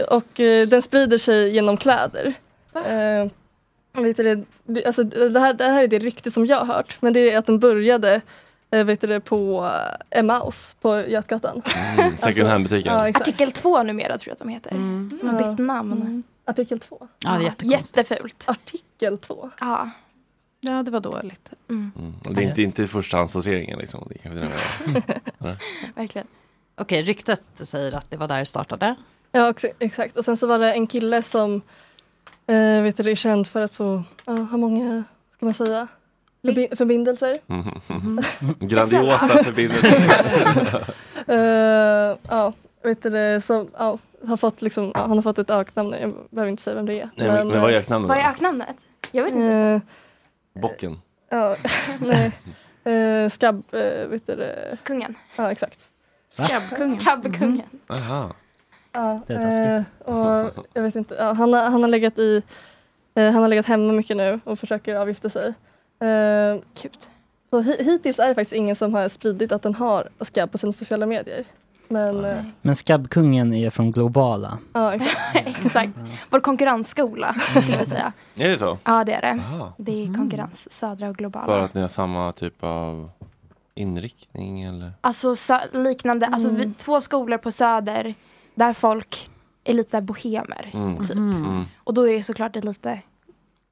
och eh, den sprider sig genom kläder. Eh, vet du, det? det, alltså, det, här, det här är det rykte som jag har hört, men det är att den började eh, vet du, det, på eh, Emmaus på Götgatan. Mm, Second hand-butiken. Ja, exakt. Artikel 2 numera tror jag att de heter. De har bytt namn. Artikel 2. Ja, det är jättekonstigt. Jättefult. Artikel 2. Ja. Ja, det var dåligt. Mm. Det är inte, inte i förstahandssorteringen liksom. Det kanske det är. Nej. Verkligen. Okej, ryktet säger att det var där det startade. Ja, ex- exakt. Och sen så var det en kille som eh, vet du, det, är känd för att så, ja, ha många, ska man säga, förbi- förbindelser. Mhm. Mm. Mhm. Grandiosa Sexuella. förbindelser. Eh, ja, vet du, det, som, ja, har fått liksom, ja, han har fått ett öknamn nu, jag behöver inte säga vem det är. Nej, men- men vad är öknamnet Vad då? är öknamnet? Jag vet inte. Eh, Bocken. ja, nej. Eh, skabb, eh, vet du, det? Kungen. Ja, exakt. Va? Skabbkungen. Skabbkungen. Uh-huh. Aha. Ja, Det är taskigt. eh, och jag vet inte, ja, han, har, han har legat i eh, han har legat hemma mycket nu och försöker avgifta sig. Eh, Så hi- hittills är det faktiskt ingen som har spridit att den har skabb på sina sociala medier. Men eh, Men skabbkungen är från globala. ja, exakt. Exakt. Vår konkurrensskola skulle jag säga. Mm. Är det så? Ja, det är det. Aha. Det Mm. är konkurrens, södra och globala. För att ni har samma typ av inriktning eller? Alltså sö- liknande, alltså Mm. vi, två skolor på söder där folk är lite bohemer. Mm. Typ. Mm. Och då är det såklart det lite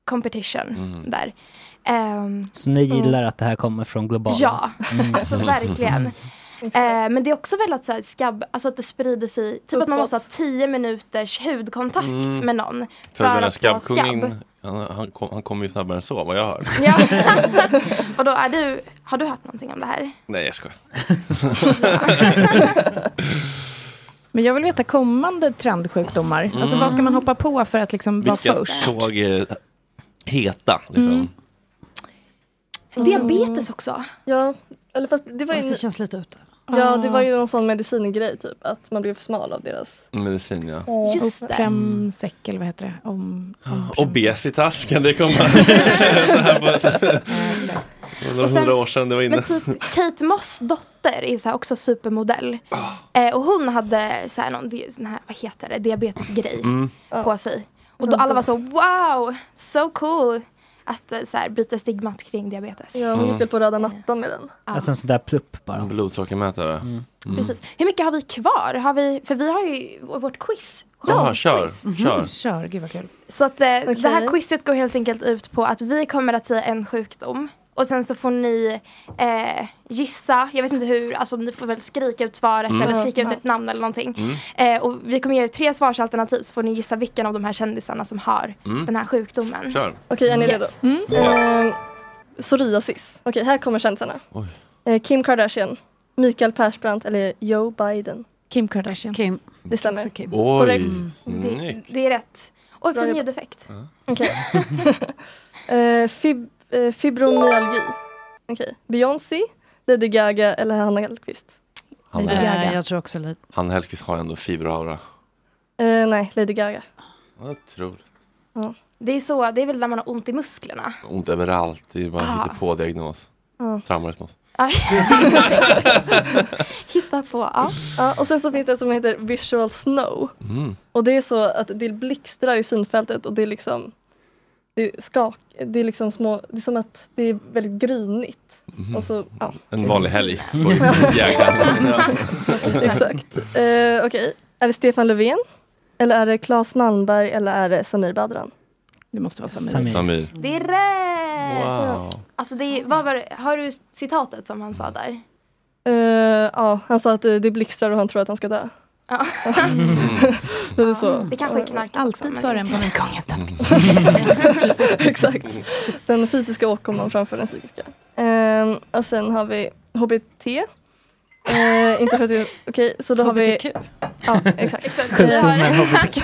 competition Mm. där. Ehm, Så ni gillar och- att det här kommer från globala? Ja, Mm. alltså verkligen. Eh, men det är också väl att, så här, skabb, alltså att det sprider sig, typ att man måste ha 10 minuters hudkontakt Mm. med någon. Så den där få skabbkungen, han, han, kom, han kom ju snabbare än så vad jag hör. Ja. och då är du, har du hört någonting om det här? Nej jag skojar. Men jag vill veta kommande trendsjukdomar. Alltså Mm. vad ska man hoppa på för att liksom vara Vilka först? såg eh, heta liksom. Mm. Diabetes också. Ja, eller fast det var ju... Fast det känns lite ute. Ja, Ah. det var ju någon sån medicingrej typ, att man blev för smal av deras... Liksom. Medicin ja. Just det. Premsäck eller vad heter det? Om, Ah. om Obesitas kan det komma. så här på, det var Och sen- hundra år sedan det var inne. Men typ Kate Moss dotter är så här också supermodell. Ah. Eh, och hon hade så här någon, di- sån här, vad heter det, diabetesgrej Mm. Ah. på sig. Och då alla var så wow, so cool. Att eh, så här, bryta stigmat kring diabetes. Ja, Mm. hon gick väl på röda mattan med den. Alltså en sån där plupp bara. Blodsockermätare. Mm. Precis. Hur mycket har vi kvar? Har vi, för vi har ju vårt quiz. Ja, kör. Mhm. Kör. Kör, gud vad kul. Så att eh, det här quizet går helt enkelt ut på att vi kommer att säga en sjukdom. Och sen så får ni eh, gissa, jag vet inte hur, alltså ni får väl skrika ut svaret Mm. eller Ja, skrika ut ja. ett namn eller någonting. Eh, och vi kommer ge er tre svarsalternativ så får ni gissa vilken av de här kändisarna som har Mm. den här sjukdomen. Kör. Okej, är ni redo? Mm. Eh, psoriasis. Okej, här kommer kändisarna. Eh, Kim Kardashian, Mikael Persbrandt eller Joe Biden. Kim Kardashian. Kim. Det stämmer. Oj, Korrekt. Mm. snyggt. Det är rätt. Oj, Bra fin jobbat. ljudeffekt. Okej. Eh, fib- eh, fibromyalgi. Okej. Beyoncé, Lady Gaga eller Hanna Hellquist? Han, Lady Gaga. Eh, Jag tror också lite. han Hellquist har ändå fiberaura. Eh, nej, Lady Gaga. Otroligt. Det är så, det är väl där man har ont i musklerna. Ont överallt. Det är ju bara Ah. hitta på diagnos. Ja. Traumarytmos. Hitta på, ja. Ja, och sen så finns det en som heter Visual Snow. Mm. Och det är så att det blixtrar i synfältet och det är liksom det är skak, det är liksom små, det är som att det är väldigt grynigt. Mhm. Och så, ja. En vanlig helg. Går i jägaren. Ja. Ja. Exakt. Eh, Okej, är det Stefan Löfven? Eller är det Claes Malmberg eller är det Samir Badran? Det måste vara Samir. Samir. Det är rätt! Wow. Alltså det är, vad var det, har du citatet som han sa där? Eh, ja, han sa att eh, det blixtrar och han tror att han ska dö. Ja. det är så. Det kanske är knark Alltid före en Exakt. Den fysiska Mm. åkomman framför den psykiska. Ehm, och sen har vi HBT. Eh, inte för att det okej, så då har vi... HBTQ. Ja, exakt. Sjukdomen HBTQ.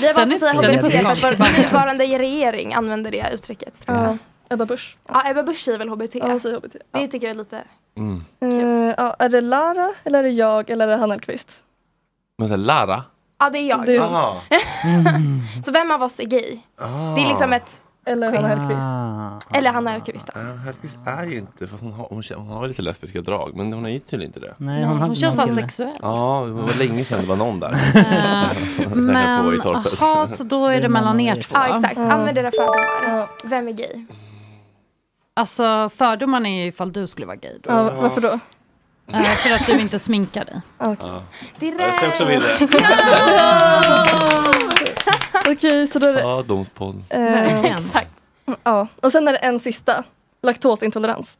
Vi har valt att säga Den är HBT för att fin. vår nuvarande regering använder det uttrycket. Ja. Ebba Busch. Ja, Ebba Busch säger väl HBT? Ja, hon säger HBT. Det tycker jag är lite... Mm. Eh, ja, är det Lara, eller är det jag, eller är det Hanna Hellquist? Men så här, Lara? Ah. Ja, det är jag. Det är- Aha. Så vem av oss är gay? Det är Ah. liksom ett... Ah. Eller quiz. Hanna Hellquist. Eller Hanna Hellquist. då. Nej, Hellquist är ju inte, för hon har, hon, känner- hon har lite lesbiska drag, men hon är ju tydligen inte det. Nej, hon hade känns någon kille. asexuell. Ja, det var länge sedan det var någon där. Snackade på i Men torpet. aha, så då är det mellan er två. Ja, exakt. Använd era fördomar. Vem är gay? Alltså fördomarna är ju ifall du skulle vara gay då. Ja, varför då? Eh, för att du inte sminkar dig. Ja. Direkt! Jag ser också bilder. Okej, så då är det... Fördomspodd. Eh, Exakt. Ja, och sen är det en sista. Laktosintolerans.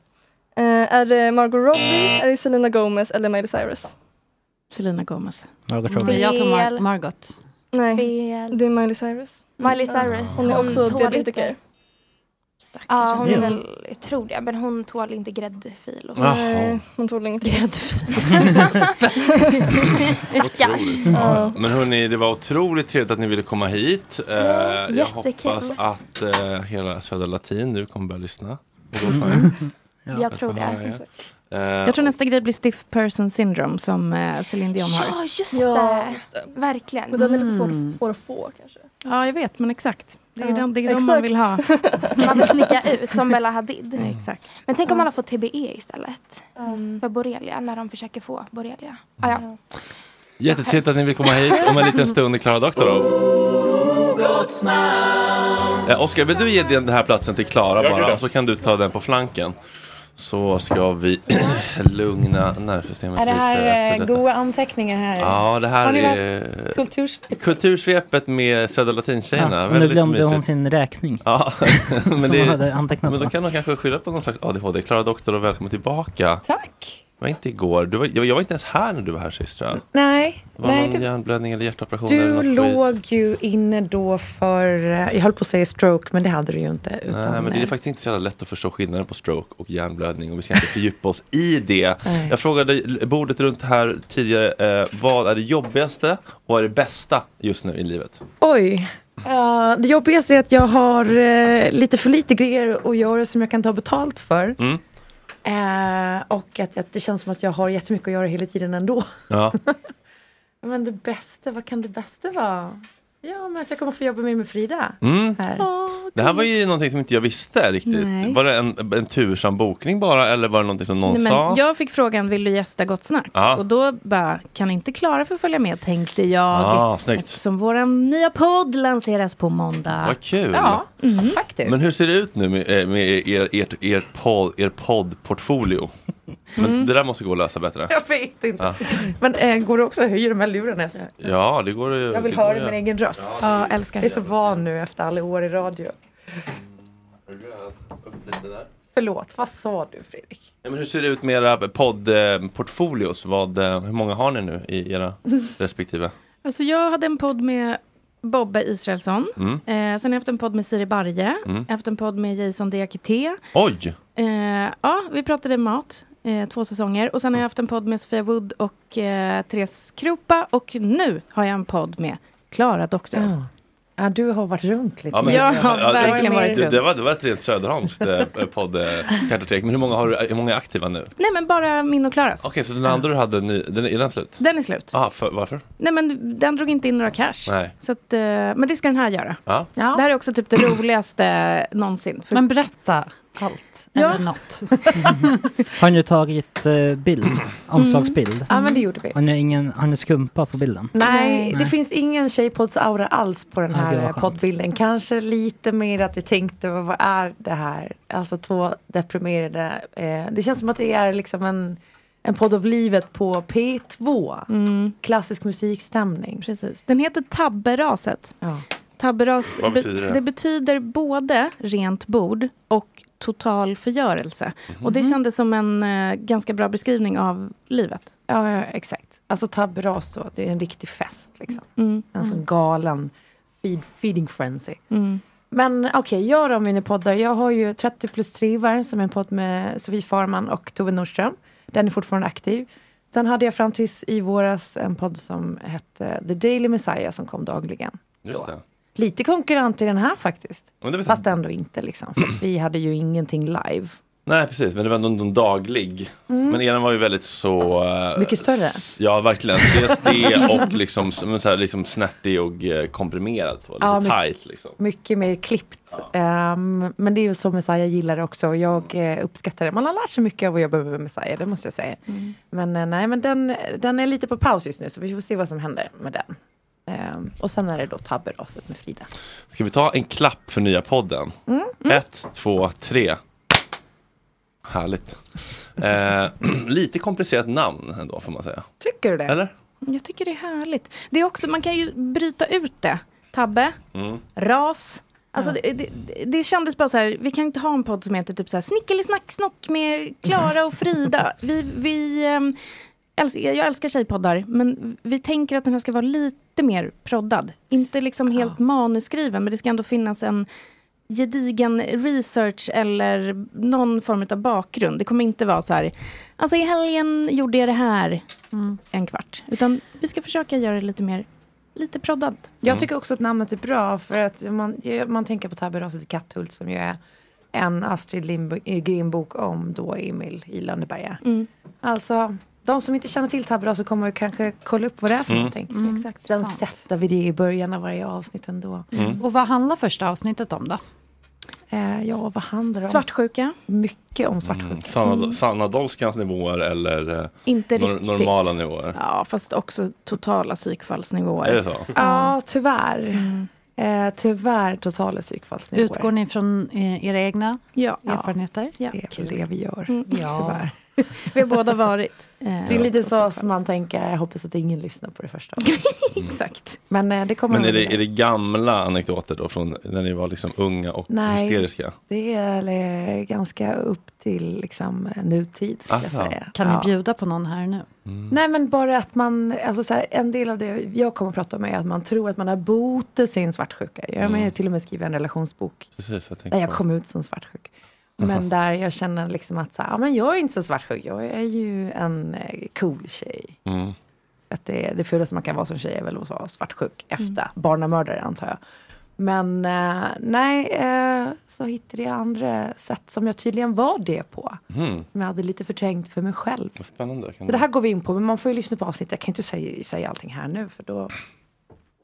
Eh, är det Margot Robbie, är det Selena Gomez eller Miley Cyrus? Selena Gomez. Margot Robbie. Men jag tar Mar- Fel. Margot. Nej, Fel. det är Miley Cyrus. Miley Cyrus. Mm. Hon är hon också tål diabetiker. inte- Ja, hon är Ja. väl, jag tror det. Men hon tål inte gräddfil och så. Jaha. Nej, hon tål ingenting. Stackars. Ja. Men hörni, det var otroligt trevligt att ni ville komma hit. Eh, jag jättekul. hoppas att eh, hela Södra Latin nu kommer börja lyssna. Jag tror det. Jag Jag tror nästa grej blir stiff person syndrome som eh, Celine Dion har. Ja, just Ja, det. just det. Verkligen. Men den är lite Mm. svår, svår att få kanske. Ja, jag vet, men exakt. Det är ju Ja, de, det är de exakt. man vill ha. Man vill snicka ut som Bella Hadid. Exakt. Men tänk om alla får TBE istället. Mm. För borrelia, när de försöker få borrelia. Ah, ja. Eh, Jättetrevligt att ni ville komma hit. Om en liten stund är Klara Doktorov. Eh, Oskar, vill du ge den den här platsen till Klara Jag gör bara? det. Och så kan du ta den på flanken. Så ska vi lugna nervsystemet Är det lite här efter eh, detta. goa anteckningar här? Ja, det Har här ni är Kulturs... Kultursvepet med Södra Latin-tjejerna. Ja, och nu Väldigt glömde hon mysigt. sin räkning. Ja, men, Som det, hon hade antecknat men då på. kan de kanske skylla på någon slags ADHD. Klara Doktor och välkommen tillbaka. Tack. Det var inte igår. Du var, jag, jag var inte ens här när du var här sist tror jag. Nej, Det var nej någon du, hjärnblödning eller hjärtoperation. eller du något skit. låg ju inne då för, eh, jag höll på att säga stroke, men det hade du ju inte. Utan, Nej, men det är eh, faktiskt inte så jävla lätt att förstå skillnaden på stroke och hjärnblödning och vi ska inte fördjupa oss i det. Nej. Jag frågade bordet runt här tidigare, eh, vad är det jobbigaste och vad är det bästa just nu i livet? Oj. Eh, det jobbigaste är att jag har eh, lite för lite grejer att göra som jag kan ta betalt för. Mm. Eh, och att, att det känns som att jag har jättemycket att göra hela tiden ändå. Ja. Men det bästa, vad kan det bästa vara? Ja, men att jag kommer få jobba mer med Frida. Mm. Här. Det här var ju någonting som inte jag visste riktigt. Nej. Var det en, en tursam bokning bara eller var det någonting som någon Nej, sa? men jag fick frågan, vill du gästa Gott Snack? Ja. Och då bara, kan inte Klara få följa med, tänkte jag. Ah, snyggt. Eftersom vår nya podd lanseras på måndag. Vad kul. Ja, mm. faktiskt. Men hur ser det ut nu med, eh, med er, er, er, pod, er poddportfolio? Men Det där måste gå att lösa bättre. Mm. Jag vet inte. Ja, Men eh, går det också att höja de här lurarna? Så jag, ja det går ju- jag vill det går höra ju. min egen röst. Ja, älskar. Jag är så van nu efter alla år i radio. Förlåt, vad sa du Fredrik? Ja, men hur ser det ut med era poddportfolios? Vad, eh, hur många har ni nu i era respektive? Alltså jag hade en podd med Bobbe Israelsson. Mm. Eh, sen har jag haft en podd med Siri Barje. Jag Mm. har haft en podd med Jason Diakité. Oj! Eh, ja, vi pratade mat. Eh, två säsonger. Och sen Mm. har jag haft en podd med Sofia Wood och eh, Therese Krupa. Och nu har jag en podd med Klara Doktor. Ja. Ah. Ja, du har varit runt lite. Ja, men- jag har ja, det- verkligen varit det, runt. det, var, det var ett rent söderhamnskt eh, poddkartotek. Men hur många, har, du- hur många är aktiva nu? Okej, Nej, men bara min och Klaras. så den andra du hade, ny, den, är den slut? Den är slut. Ah, för, varför? Nej, men den drog inte in några cash. Nej. Så att, eh, men det ska den här göra. Ja. Det här är också typ det roligaste någonsin. Men berätta allt. Ja. Eller något. Har ni tagit eh, bild? Omslagsbild? Mm. Ja, men det gjorde vi. Har ni, ingen, har ni skumpa på bilden? Nej, det finns ingen tjejpoddsaura alls på den Ja, det här var eh, skönt. poddbilden. Kanske lite mer att vi tänkte, vad, vad är det här? Alltså två deprimerade. Eh, det känns som att det är liksom en, en podd av livet på P2. Klassisk musikstämning. Mm. Precis. Den heter Tabberaset. Ja. Tabberas Vad be- betyder det? det betyder både rent bord och total förgörelse. Och Mhm. det kändes som en eh, ganska bra beskrivning av livet. Ja, ja, exakt. Alltså tabberas då, det är en riktig fest. Liksom. Mm. En sån Mm. galen feed, feeding frenzy. Men okej, jag då mina poddar. Jag har ju 30 plus trivar som är en podd med Sofie Farman och Tove Nordström. Den är fortfarande aktiv. Sen hade jag fram tills i våras en podd som hette The Daily Messiah som kom dagligen. Just det. lite konkurrent i den här faktiskt. Men det är väl- Fast ändå inte liksom. För att vi hade ju ingenting live. Nej, precis. Men det var ändå en daglig. Mm. Men eran var ju väldigt så... eh, Mycket större. Ja, verkligen. Dels det och liksom, men så här, liksom snärtig och eh, komprimerad. Så. Lite Ja, men- tight liksom. Mycket mer klippt. Ehm, men det är ju så Messiah gillar det också. Och jag eh, uppskattar det. Man har lärt sig mycket av att jobba med Messiah, det måste jag säga. Men eh, nej, men den, den är lite på paus just nu. Så vi får se vad som händer med den. Ehm, och sen är det då tabberaset med Frida. Ska vi ta en klapp för nya podden? Mm. Ett, två, tre. Härligt. Eh, lite komplicerat namn ändå får man säga. Tycker du det? Eller? Jag tycker det är härligt. Det är också, man kan ju bryta ut det. Tabbe, Hmm? Mm. ras. Alltså det, det, det kändes bara så här, vi kan inte ha en podd som heter typ så här snickelisnacksnock med Klara och Frida. Vi, vi, ehm, älskar, jag älskar tjejpoddar, men vi tänker att den här ska vara lite mer proddad. Inte liksom helt manuskriven, men det ska ändå finnas en gedigen research eller någon form av bakgrund. Det kommer inte vara så här, alltså i helgen gjorde jag det här Mm. en kvart. Utan vi ska försöka göra det lite mer, lite proddad. Mm. Jag tycker också att namnet är bra för att man, man tänker på tabberaset i Katthult som ju är en Astrid Lindgren-bok om då Emil i Lönneberga. Mm. Alltså, de som inte känner till tabberaset kommer ju kanske kolla upp vad det är för Mm. någonting. Mm, Exakt. Sen sant. sätter vi det i början av varje avsnitt ändå. Mm. Och vad handlar första avsnittet om då? Eh, ja, vad handlar det om? Svartsjuka. Mycket om svartsjuka. Mm. Sanna, Sanna Dolskans nivåer eller eh, Inte nor- riktigt. normala nivåer. Ja, fast också totala psykfallsnivåer. Är det så? Mm. Ja, tyvärr. Eh, tyvärr totala psykfallsnivåer. Utgår ni från eh, era egna ja. erfarenheter? Ja. Det är väl det vi gör, Mm. Ja. tyvärr. Vi har båda varit. eh, Det är lite så som man tänker, jag hoppas att ingen lyssnar på det första. Exakt. Men eh, det kommer Men är nog det, bli är det gamla anekdoter då från när ni var liksom unga och Nej. hysteriska? Det är eh, ganska upp till liksom, eh, nutid, skulle jag Aha. Mm. säga. Kan ni Ja. bjuda på någon här nu? Nej, men bara att man... Alltså, så här, en del av det jag kommer att prata om är att man tror att man har botat sin svartsjuka. Jag har Mm. ju till och med skrivit en relationsbok Precis, jag tänkte där jag på. kom ut som svartsjuk. Men där jag känner liksom att så här, ja, men jag är inte så svartsjuk. Jag är ju en eh, cool tjej. Mm. Att det, det fulaste man kan vara som tjej är väl att vara svartsjuk efter barnamördare, antar jag. Men eh, nej, eh, så hittade jag andra sätt som jag tydligen var det på. Mm. Som jag hade lite förträngt för mig själv. Vad spännande. Kan Så det här går vi in på, men man får ju lyssna på avsnittet. Jag kan ju inte säga, säga allting här nu, för då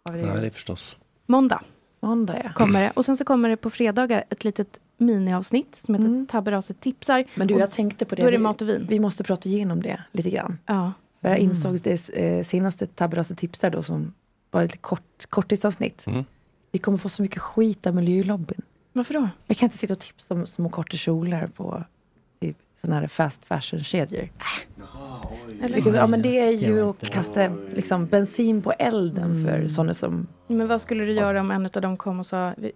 har vi Nej, det är det förstås. Måndag. måndag. Ja. kommer det. Och sen så kommer det på fredagar ett litet miniavsnitt som heter Tabberaset tipsar. Mm. Men du, Och jag tänkte på det. Då är det Vi- mat och vin. Vi måste prata igenom det lite grann. Ja. Mm. För jag insåg det eh, senaste Tabberaset tipsar då, som var ett kort, korttidsavsnitt. Mm. Vi kommer få så mycket skit av miljölobbyn. Varför då? Vi kan inte sitta och tipsa om små korta kjolar på typ, sådana här fast fashion-kedjor. Vilket- Ja, men det är ju att kasta liksom, bensin på elden Mm. för sådana som... Men vad skulle du göra om en av dem kom och sa "Vi-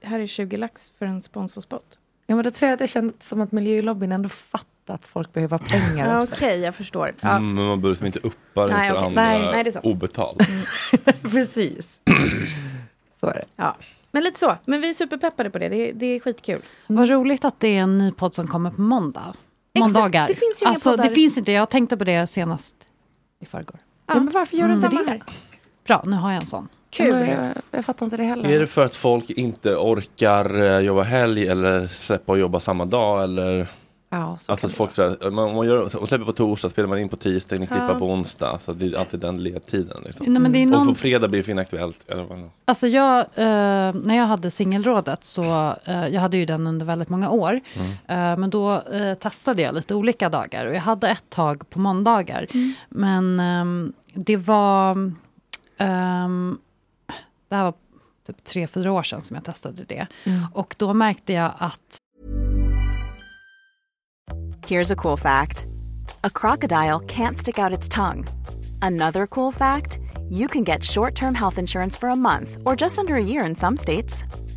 här är 20 lax för en sponsorspot? Ja, men då tror jag att det känns som att miljölobbyn ändå fattar att folk behöver pengar Ja, också. Okej, jag förstår. Ja. Mm, men man bör liksom inte uppa det Nej, för okej. andra Nej, nej, det är sant. obetalt. Precis. Mm, Så är det. Ja. Men lite så. Men vi är superpeppade på det. Det är, det är skitkul. Vad roligt att det är en ny podd som kommer på måndag. Måndagar. Det finns ju inga alltså, poddar. det finns inte, jag tänkte på det senast i förrgår. Mm. Ja, men varför gör de samma här? Bra, nu har jag en sån. Kul. Men Jag, jag fattar inte det heller. Är det för att folk inte orkar eh, jobba helg eller släppa och jobba samma dag eller? Ja, så Alltså att folk så här, man, man, gör, man släpper på torsdag, spelar man in på tisdag, ni klippa Ja. på onsdag. Så det är alltid den ledtiden. Liksom. Nej, men det är Och på någon- fredag blir det för inaktuellt. Eller vad det nu- Alltså jag, eh, när jag hade singelrådet så, eh, jag hade ju den under väldigt många Mm. år. Eh, men då eh, testade jag lite olika dagar och jag hade ett tag på måndagar. Men ehm, det var, ehm, det här var typ tre, fyra år sedan som jag testade det. Och då märkte jag att Here's a cool fact a crocodile can't stick out its tongue. Another cool fact you can get short term health insurance for a month or just under a year in some states.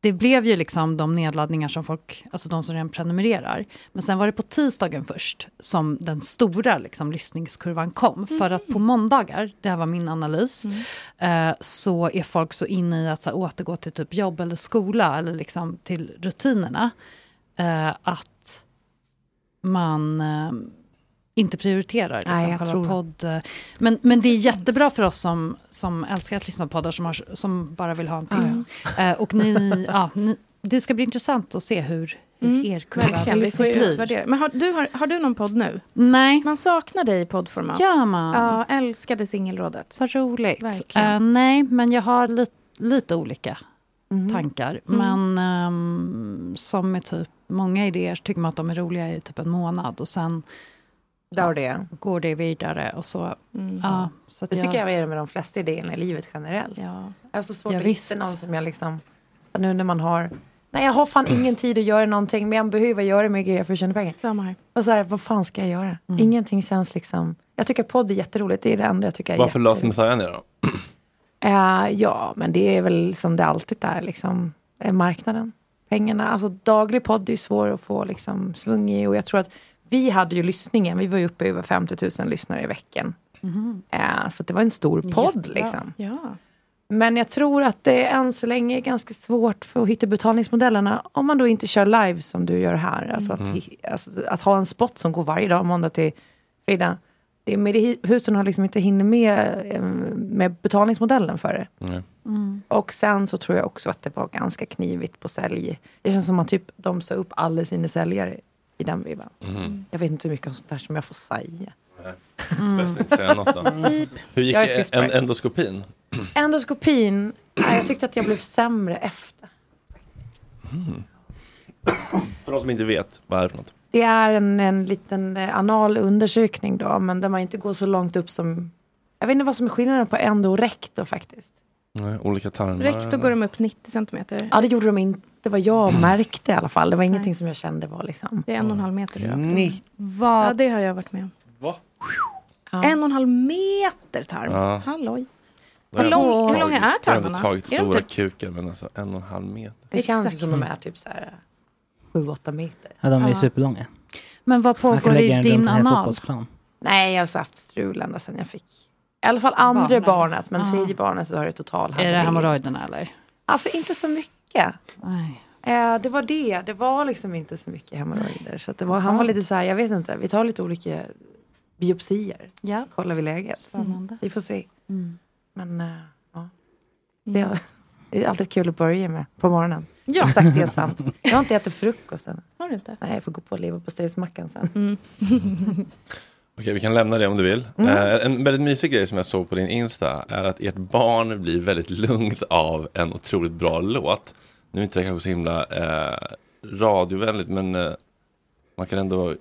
det blev ju liksom de nedladdningar som folk, alltså de som redan prenumererar. Men sen var det på tisdagen först som den stora liksom, lyssningskurvan kom. För att Mm. på måndagar, det här var min analys, eh, så är folk så inne i att så här, återgå till typ jobb eller skola eller liksom till rutinerna. Eh, att man eh, inte prioriterar liksom, Nej, jag själva tror det. podd. eh, Men, men det är jättebra för oss som, som älskar att lyssna på poddar, som, har, som bara vill ha en till. Eh, och ni, ja, ni, det ska bli intressant att se hur, hur er kurva Mm. Verkligen, vi får ju blir. utvärdera. Men har du, har, har du någon podd nu? Nej. Man saknar dig i poddformat. Gör man? Ja, älskade singelrådet. Vad roligt. Verkligen. Eh, nej, men jag har li, lite olika Mhm. tankar. Mm. Men ehm, som är typ, många idéer tycker man att de är roliga i typ en månad och sen Där och det. går det vidare och så. Mm. Ja, så att det tycker jag är det med de flesta idéerna i livet generellt. Ja. Jag har så svårt Ja, att visst. hitta någon som jag liksom... Nu när man har... Nej, jag har fan ingen tid att göra någonting, men jag behöver göra mer grejer för att tjäna pengar. Samma här. Mm. Och så här, vad fan ska jag göra? Ingenting känns liksom... Jag tycker podd är jätteroligt, det är det enda jag tycker är Varför jätteroligt. löste Messiah det då? Eh, ja, men det är väl som det alltid är, liksom, eh, marknaden. Pengarna. Alltså daglig podd är ju svår att få liksom, svung i. Och jag tror att vi hade ju lyssningen, vi var ju uppe i över 50 000 lyssnare i veckan. Mhm. Eh, så att det var en stor podd liksom. Ja. Men jag tror att det än så länge är ganska svårt för att hitta betalningsmodellerna om man då inte kör live som du gör här. Alltså att, Mm. hi- alltså att ha en spot som går varje dag, måndag till fredag. Det är med det hi- husen har liksom inte hinner med, eh, med betalningsmodellen för det. Mm. Och sen så tror jag också att det var ganska knivigt på sälj. Det känns som att typ de sa upp alla sina säljare i den vevan. Mm. Jag vet inte hur mycket om sånt där som jag får säga. Bäst inte säga något då. Mm. Hur gick Jag är tyst på en, det. endoskopin? Endoskopin, nej, jag tyckte att jag blev sämre efter. För de som inte vet, vad är det för något? Det är en, en liten eh, anal undersökning då, men där man inte går så långt upp som... Jag vet inte vad som är skillnaden på endo och rektor faktiskt. Nej, olika tarmar? Rektor går de upp 90 centimeter. Ja, det gjorde de inte. Det var Mm. jag märkte i alla fall. Det var ingenting som jag kände var liksom... Det är en och en halv meter rakt. Ni- Ja, det har jag varit med om. Va? En och en halv meter tarm. Ja. Halloj. Då har Hur jag lång- ändå hur långa tagit- är Jag har ändå tarmarna? tagit Är de stora typ- kukar, men alltså en och en halv meter. Det känns ju Exakt. som de är typ så här... Sju, åtta meter. Ja, de är ju Ja. superlånga. Men vad Man kan pågår lägga i den runt din en hel anal? fotbollsplan. Nej, jag har så haft strul ända sedan jag fick... I alla fall andra Barnen. barnet, men Ja. tredje barnet så har det total Är det haveri. hemorrojderna eller? Alltså inte så mycket. Eh, det var det. Det var liksom inte så mycket hemorrojder. Så att det var, han var lite så här, jag vet inte, vi tar lite olika biopsier. Ja. Kollar vi läget. Spännande. Vi får se. Mm. Men eh, ja. Det, var- det är alltid kul att börja med på morgonen. Ja. Exakt det är sant. Jag har inte ätit frukost än. Har du inte? Mm. Nej, jag får gå på leverpastejsmackan sen. Okej, vi kan lämna det om du vill. Mm. Eh, en väldigt mysig grej som jag såg på din Insta är att ert barn blir väldigt lugnt av en otroligt bra låt. Nu är inte det kanske så himla eh, radiovänligt, men eh, man kan ändå...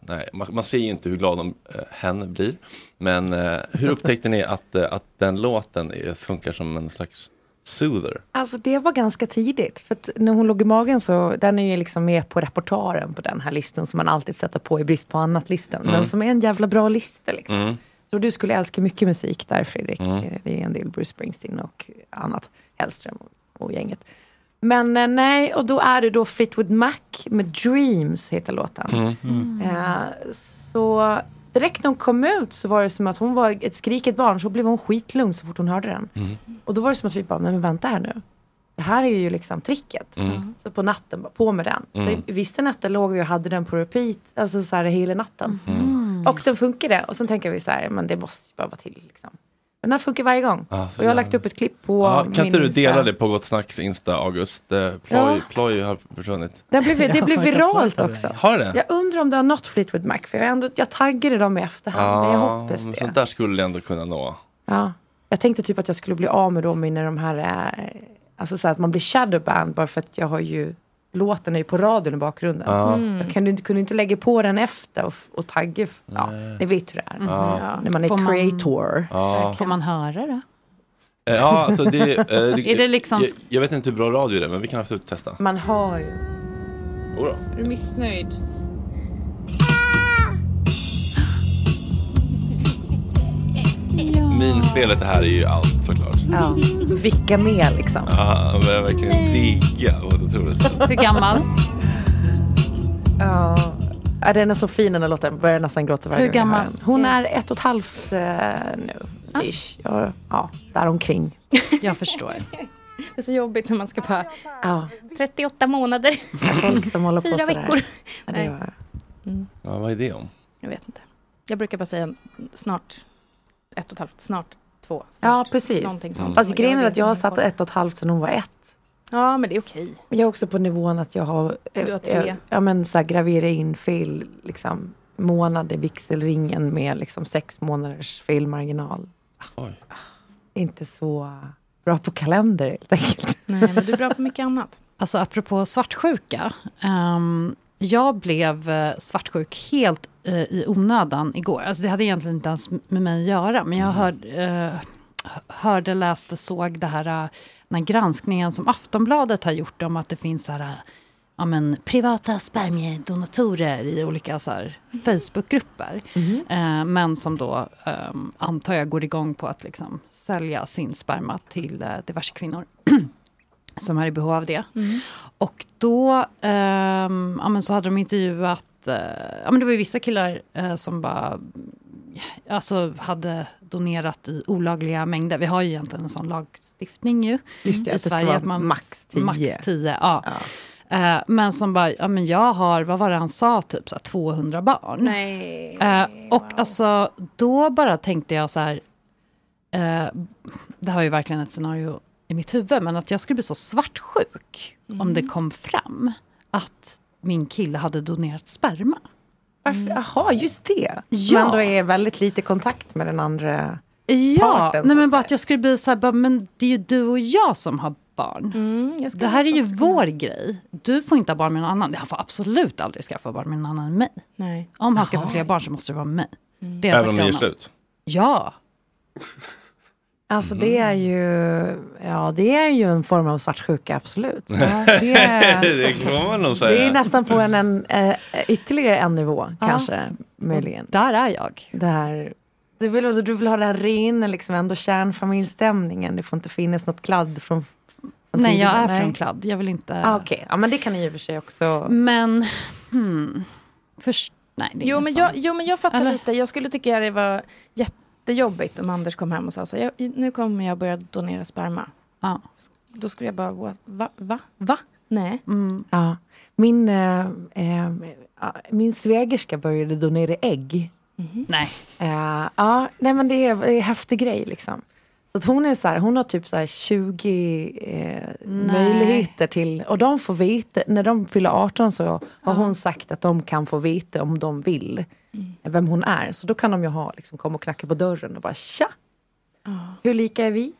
Nej, man, man ser ju inte hur glad de, eh, hen blir. Men eh, hur upptäckte ni att, eh, att den låten är, funkar som en slags soother? Alltså det var ganska tidigt. För att när hon låg i magen så, den är ju liksom med på repertoaren på den här listan som man alltid sätter på i brist på annat-listan. Mm. Men som är en jävla bra lista liksom. Mm. Så du skulle älska mycket musik där Fredrik. Eh, Mm. Det är en del Bruce Springsteen och annat. Hellström och, och gänget. Men eh, nej, och då är det då Fleetwood Mac med Dreams heter låten. Eh, så direkt när hon kom ut så var det som att hon var Mm. Mm. ett skriket barn. Så blev hon skitlugn så fort hon hörde den. Och då var det som att vi bara, men vänta här nu. det här är ju liksom tricket. Mm. Så på natten, bara på med den. Mm. Så vissa nätter låg vi och hade den på repeat, alltså så här hela natten. Mm. Och den funkade. Och sen tänker vi så här, men det måste ju bara vara till liksom. Men den funkar varje gång. Ah, så och jag har lagt upp ett klipp på Ja, kan inte min du Insta. dela det på Gott Snacks Insta, August? Eh, Ploj, Ja. ploj har försvunnit. Den blev, det blev viralt också. Har det? Jag undrar om det har nått Fleetwood Mac, för jag, ändå, jag taggade dem i efterhand. men jag hoppas men det. Sånt där skulle jag ändå kunna nå. Ja. Jag tänkte typ att jag skulle bli av med dem innan de här, eh, alltså så här att man blir shadowband bara för att jag har ju, låten är ju på radion i bakgrunden. Ja. Mm. Jag kunde inte, kunde inte lägga på den efter och, f- och tagga, f- ja, ni vet hur det är. Mhm. Ja. När man är Får man- creator. Ja. Får man höra det? Eh, Ja, alltså det, eh, det, Är det liksom- jag, jag vet inte hur bra radio det är, men vi kan absolut testa. Man hör ju. Jodå. Är du missnöjd? Minspelet det här är ju allt såklart. Ja. Vilka med liksom. Ja, men jag verkligen digga. Vad otroligt. Hur gammal? Ja, Ja, den är så fin den här låten. Jag börjar nästan gråta varje Hur gång jag hör gammal? den. Hon är ett och ett halvt eh, nu. Ish. Ja, ja, däromkring. Jag förstår. Det är så jobbigt när man ska bara... Ja. 38 månader. Folk som håller på Fyra sådär. veckor. Ja, det Nej. gör Ja, vad är det om? Jag vet inte. Jag brukar bara säga snart ett och ett halvt, snart två. Ja, precis. Någonting sånt. Fast grejen är Jag att jag har vet satt ett och ett halvt sedan hon var ett. Ja, men det är okej. Men Jag är också på nivån att jag har, Du har tre. eh, ja, men så här, gravera in fel liksom, månad i vigselringen med liksom, sex månaders felmarginal. Oj. Inte så bra på kalender helt enkelt. Nej, men du är bra på mycket annat. Alltså apropå svartsjuka. ehm, jag blev eh, svartsjuk helt eh, i onödan igår. Alltså det hade egentligen inte ens med mig att göra. Men jag hörde, eh, hörde läste, såg det här, eh, den här granskningen som Aftonbladet har gjort om att det finns så här, eh, ja, men, privata spermiedonatorer i olika så här, Facebookgrupper. Eh, men som då, ehm, antar jag, går igång på att liksom, sälja sin sperma till eh, diverse kvinnor. som är i behov av det. Mm. Och då ehm, ja, men så hade de intervjuat, eh, ja, men det var ju vissa killar eh, som bara alltså, hade donerat i olagliga mängder. Vi har ju egentligen en sån lagstiftning ju, Just det, i att det ska Sverige. vara att man, max 10. Max 10 ja. Eh, men som bara, ja men jag har, vad var det han sa, typ så här 200 barn. Nej. Eh, och alltså, då bara tänkte jag så här, eh, det här var ju verkligen ett scenario i mitt huvud, men att jag skulle bli så svartsjuk om det kom fram att min kille hade donerat sperma. Varför? Jaha, just det. Ja. Men då är väldigt lite kontakt med den andra Ja, parten. nej men bara att jag skulle bli så här, bara, men det är ju du och jag som har barn. Mm. det här är ju vår grej. Du får inte ha barn med någon annan. Han får absolut aldrig skaffa barn med någon annan än mig. Nej. Om han skaffar fler barn så måste det vara med mig. Det har jag Även om sagt till ni är honom. slut? Ja. Alltså Mm. det är ju, ja det är ju en form av svartsjuka, absolut. det, är- kan man nog säga. Det är nästan på en, en eh, ytterligare en nivå Ja. kanske, möjligen. Där är jag. Där, du, vill, du vill ha den här rena, liksom ändå kärnfamiljsstämningen. Det får inte finnas något kladd från, från Nej, jag tidigare. är från Kladd. Jag vill inte... Ah, Okej, ja men det kan ni i och för sig också. Men, hmm. Först, nej, det är Jo ingen men, sån. jag, jo, men jag fattar lite. Jag skulle tycka det var jättejobbigt om Anders kom hem och sa så här, "Jag- nu kommer jag börja donera sperma. Ja. Då skulle jag bara, "What? va? va? va? Nej. Ja. Min, eh, eh, ja, min svägerska började donera ägg. Nej. Eh, ja, nej men det är, det är en häftig grej liksom. Så att hon, är så här, hon har typ så här 20 eh, möjligheter till, och de får veta, när de fyller 18 så har hon sagt att de kan få veta om de vill vem hon är. Så då kan de ju ha, liksom, komma och knacka på dörren och bara tja, hur lika är vi?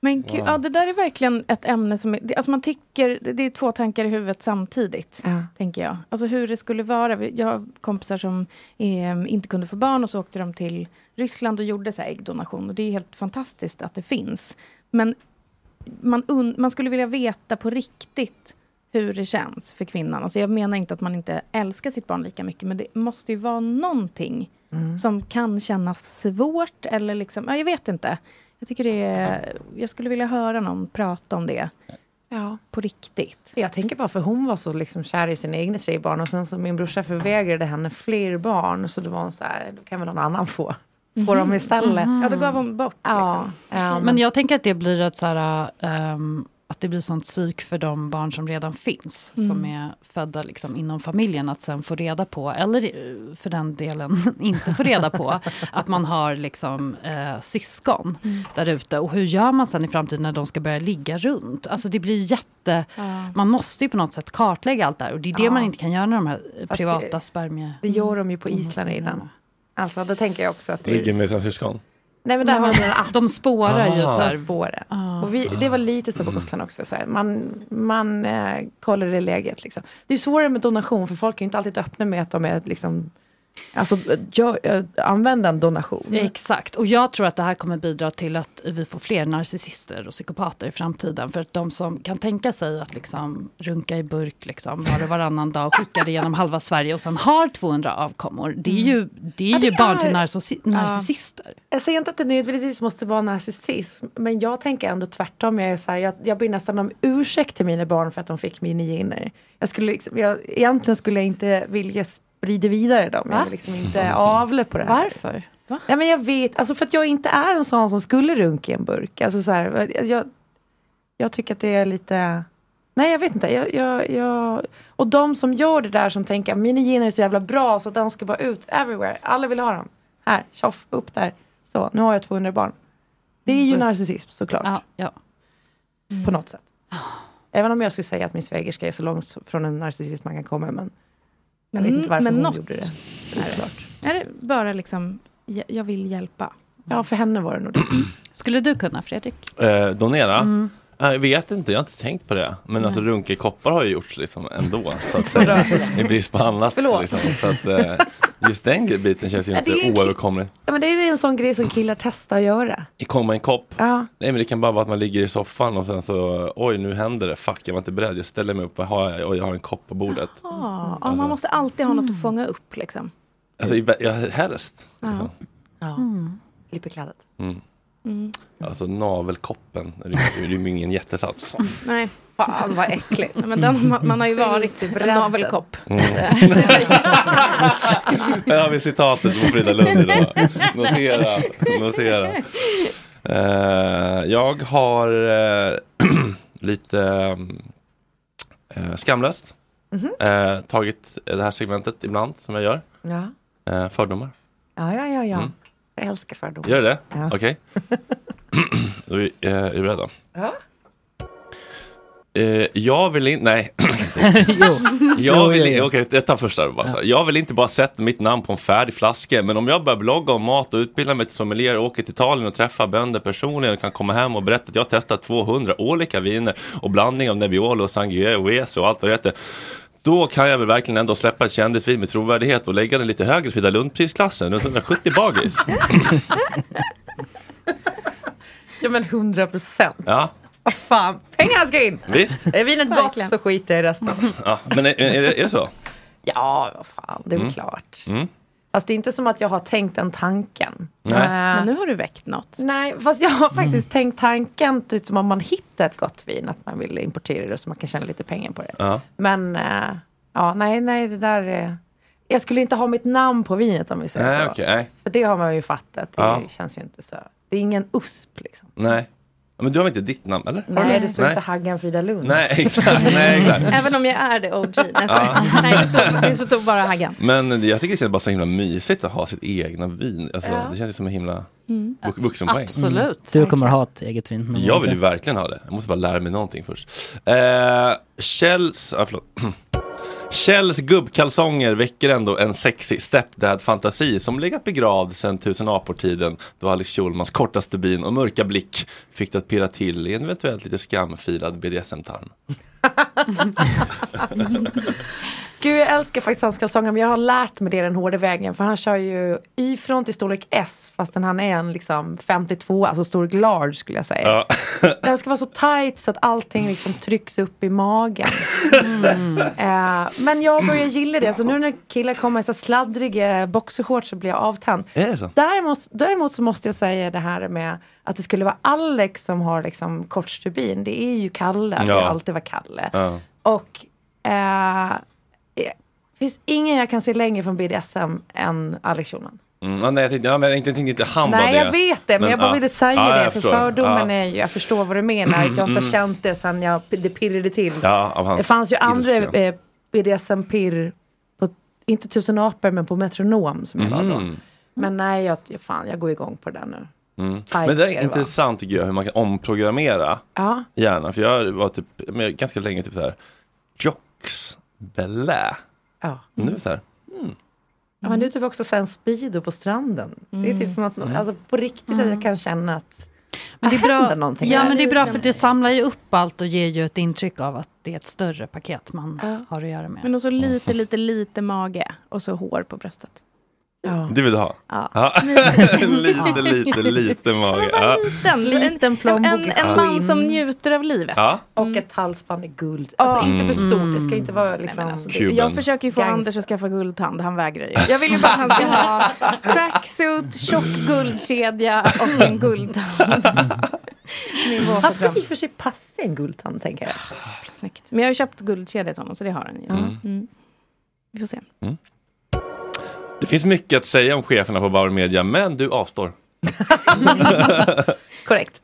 Men gud, Wow. ja, det där är verkligen ett ämne som... Är, det- alltså man tycker, det är två tankar i huvudet samtidigt, tänker jag. Alltså hur det skulle vara. Vi- Jag har kompisar som eh, inte kunde få barn och så åkte de till Ryssland och gjorde så här äggdonation. Och det är helt fantastiskt att det finns. Men man, un, man skulle vilja veta på riktigt hur det känns för kvinnan. Alltså jag menar inte att man inte älskar sitt barn lika mycket, men det måste ju vara någonting som kan kännas svårt eller liksom, ja, jag vet inte. Jag tycker det är, jag skulle vilja höra någon prata om det. Ja. På riktigt. Jag tänker bara för hon var så liksom kär i sina egna tre barn och sen så min brorsa förvägrade henne fler barn så då var hon så här, då kan väl någon annan få, få dem istället. Ja, då gav hon bort. Ja, Liksom. ja, men... jag tänker att det blir ett så här, ehm, att det blir sånt psyk för de barn som redan finns, Mm. som är födda liksom inom familjen, att sen få reda på, eller eh, för den delen inte få reda på, att man har liksom eh, syskon Mm. där ute. Och hur gör man sen i framtiden när de ska börja ligga runt? Alltså det blir jätte... Ja. Man måste ju på något sätt kartlägga allt det här och det är det Ja. man inte kan göra när de här eh, Fast privata Mm. det- spermier... Det gör de ju på Island redan. Alltså då tänker jag också att det Ligger med sina syskon. Nej men där har de en app. De spårar ju så här. De spårar. Och vi, det var lite så på Gotland också. Så här. Man, man eh, kollar det läget liksom. Det är svårare med donation för folk är ju inte alltid öppna med att de är liksom Alltså gör, eh, använda en donation. Exakt, och jag tror att det här kommer bidra till att vi får fler narcissister och psykopater i framtiden. För att de som kan tänka sig att liksom runka i burk liksom, var och varannan dag, skicka det genom halva Sverige och sen har 200 avkommor, det är ju, det är Mm. Ja, ju det barn till är- narcissi- Ja. narcissister. Jag säger inte att det nödvändigtvis måste vara narcissism, men jag tänker ändå tvärtom. Jag, är så här, jag, jag ber nästan om ursäkt till mina barn för att de fick mina gener. Jag skulle liksom, jag, egentligen skulle jag inte vilja sprida vidare dem. Jag Va? vill liksom inte avla på det här. Varför? Ja, men jag vet, alltså för att jag inte är en sån som skulle runka i en burk. Alltså så här, jag, jag tycker att det är lite... Nej, jag vet inte. Jag, jag, jag... Och de som gör det där som tänker mina gener är så jävla bra så den ska bara ut everywhere. Alla vill ha dem. Här, tjoff, upp där. Så, nu har jag 200 barn. Det är Mm. ju narcissism såklart. Mm. Ja, ja. På något sätt. Även om jag skulle säga att min svägerska är så långt från en narcissist man kan komma. Men jag vet Mm, inte varför men hon något. gjorde det. Nej, klart. Är det bara liksom, jag, jag vill hjälpa? Ja, för henne var det nog Skulle du kunna, Fredrik? Eh, donera? Mm. Eh, Jag vet inte, jag har inte tänkt på det. Men alltså runka i koppar har ju gjorts liksom ändå. Så att Vadå? säga, I brist på annat. Förlåt. Liksom. Så att, eh, just den gre- biten känns ju Ja, inte det är ju- oöverkomlig. Ja, men det är en sån grej som killar testar att göra. Komma i en kopp. Ja. Nej men det kan bara vara att man ligger i soffan och sen så oj nu händer det, fuck jag var inte beredd, jag ställer mig upp och har, oj, jag har en kopp på bordet. Ja, ja, man måste alltid ha något att fånga upp liksom. Alltså i vä- ja, helst. Ja. Slipper kladdet. Mm. Mm. Alltså navelkoppen rymmer rymmer ingen jättesats. Nej. Fan vad äckligt. Ja, alltså. men den, man, man har ju varit Skit i en bränden. navelkopp. Mm. Här har vi citatet på Frida Lund idag. Notera, notera. Eh, jag har eh, lite eh, skamlöst Mhm. eh, tagit det här segmentet ibland som jag gör. Ja. Eh, fördomar. Ja, ja, ja, ja. Mm. Jag älskar fördomar. Gör det? Ja. Okej. Då är vi- eh, är vi beredda? Ja. Eh, jag vill inte, nej. jag vill inte, okej jag tar första då bara. så här. Jag vill inte bara sätta mitt namn på en färdig flaska, men om jag börjar blogga om mat och utbilda mig till sommelier och åker till Italien och träffar bönder personligen och kan komma hem och berätta att jag har testat 200 olika viner och blandning av Nebbiolo och Sangiovese och allt vad det heter. Då kan jag väl verkligen ändå släppa ett kändisvin med trovärdighet och lägga den lite högre i Frida Lundprisklassen, runt 170 bagis. Ja, men 100 procent. Ja, Vad fan, pengarna ska in! visst. Är vinet gott så skiter jag i resten. Ja, men är, är, det, är det så? Ja, vad fan, det är väl Mm. klart. Mm. Fast det är inte som att jag har tänkt den tanken. Nej. Mm. Men nu har du väckt något. Nej, fast jag har faktiskt tänkt tanken, typ som om man hittar ett gott vin, att man vill importera det så man kan tjäna lite pengar på det. Ja. Men eh, ja, nej, nej, det där är... Jag skulle inte ha mitt namn på vinet om vi säger Nej, så. okej. nej. För det har man ju fattat. Det Ja. känns ju inte så. Det är ingen USP liksom. Nej. Men du har väl inte ditt namn eller? Har Nej, du? det står inte Haggan Frida Lund. Nej, exakt. Nej, exakt. Mm. Även om jag är det OG. Nej, jag Ja. skojar. Nej det stod, det stod bara Haggan. Men jag tycker det känns bara så himla mysigt att ha sitt egna vin. Alltså, Ja. Det känns ju som en himla Mm. vux- vuxenpoäng. Mm. Du kommer ha ett eget vin. någon Jag vill ju gång. verkligen ha det. Jag måste bara lära mig någonting först. Eh, Kjells, ah, förlåt. Kjells gubbkalsonger väcker ändå en sexig stepdad-fantasi som legat begravd sedan tusen apor-tiden då Alex Schulmans korta stubin och mörka blick fick det att pirra till i en eventuellt lite skamfilad BDSM-tarm. Gud, jag älskar faktiskt hans kalsonger, men jag har lärt mig det den hårda vägen. För han kör ju Y-front till storlek S, fastän han är en liksom 52, alltså storlek large skulle jag säga. Ja. Den ska vara så tight så att allting liksom trycks upp i magen. Eh, men jag börjar gilla det, så nu när killar kommer i så sladdriga boxershorts så blir jag avtänd. Är det så? Däremot, däremot så måste jag säga det här med att det skulle vara Alex som har liksom kort stubin. Det är ju Kalle, det Ja. har alltid varit Kalle. Ja. Och eh, det finns ingen jag kan se längre från BDSM än Alex Schulman. Mm, ja, nej, jag tänkte, ja, men jag tänkte, jag tänkte inte han var Nej det. jag vet det men, jag bara ja. ville säga Ja, det jag för förstår. Ah. fördomen ja. är ju, jag förstår vad du menar, att jag inte har Mm. känt det sen jag, det pirrade till. Ja, av hans det fanns ju andra ilska. eh, BDSM-pirr, på, inte tusen apor men på metronom som jag var då. Mm. Men nej, jag, jag- fan, jag går igång på det där nu. Mm. Tight Men det ska det är vara. intressant tycker jag hur man kan omprogrammera Ja. hjärnan. För jag var typ, men jag- ganska länge typ så här, jocks, belä. Ja. Nu så här, Ja, men nu typ också sen speedo på stranden. Det är typ som att, Mm. alltså på riktigt att jag kan känna att Men det är bra, händer någonting. ja, här. men det är bra för det samlar ju upp allt och ger ju ett intryck av att det är ett större paket man har att göra med. Men och så lite, lite, lite mage och så hår på bröstet. det vill du ha? Ja. lite, lite, lite mage. Ja. Den, Liten plånbok en, i en man skinn. som njuter av livet. Ja. Och ett halsband i guld. Alltså Ja. inte för stort, det ska Mm. inte vara liksom... Cuban. Jag försöker ju få Gangster. Anders att skaffa guldtand, han vägrar ju. Jag vill ju bara att han ska ha Mm. tracksuit, tjock guldkedja och en guldtand. Nivå på Han ska fram. i och för sig passa en guldtand tänker jag. Snyggt. Men jag har ju köpt guldkedja till honom, så det har han ju. Mm. Mm. Vi får se. Det finns mycket att säga om cheferna på Bauer Media, men du avstår. Korrekt.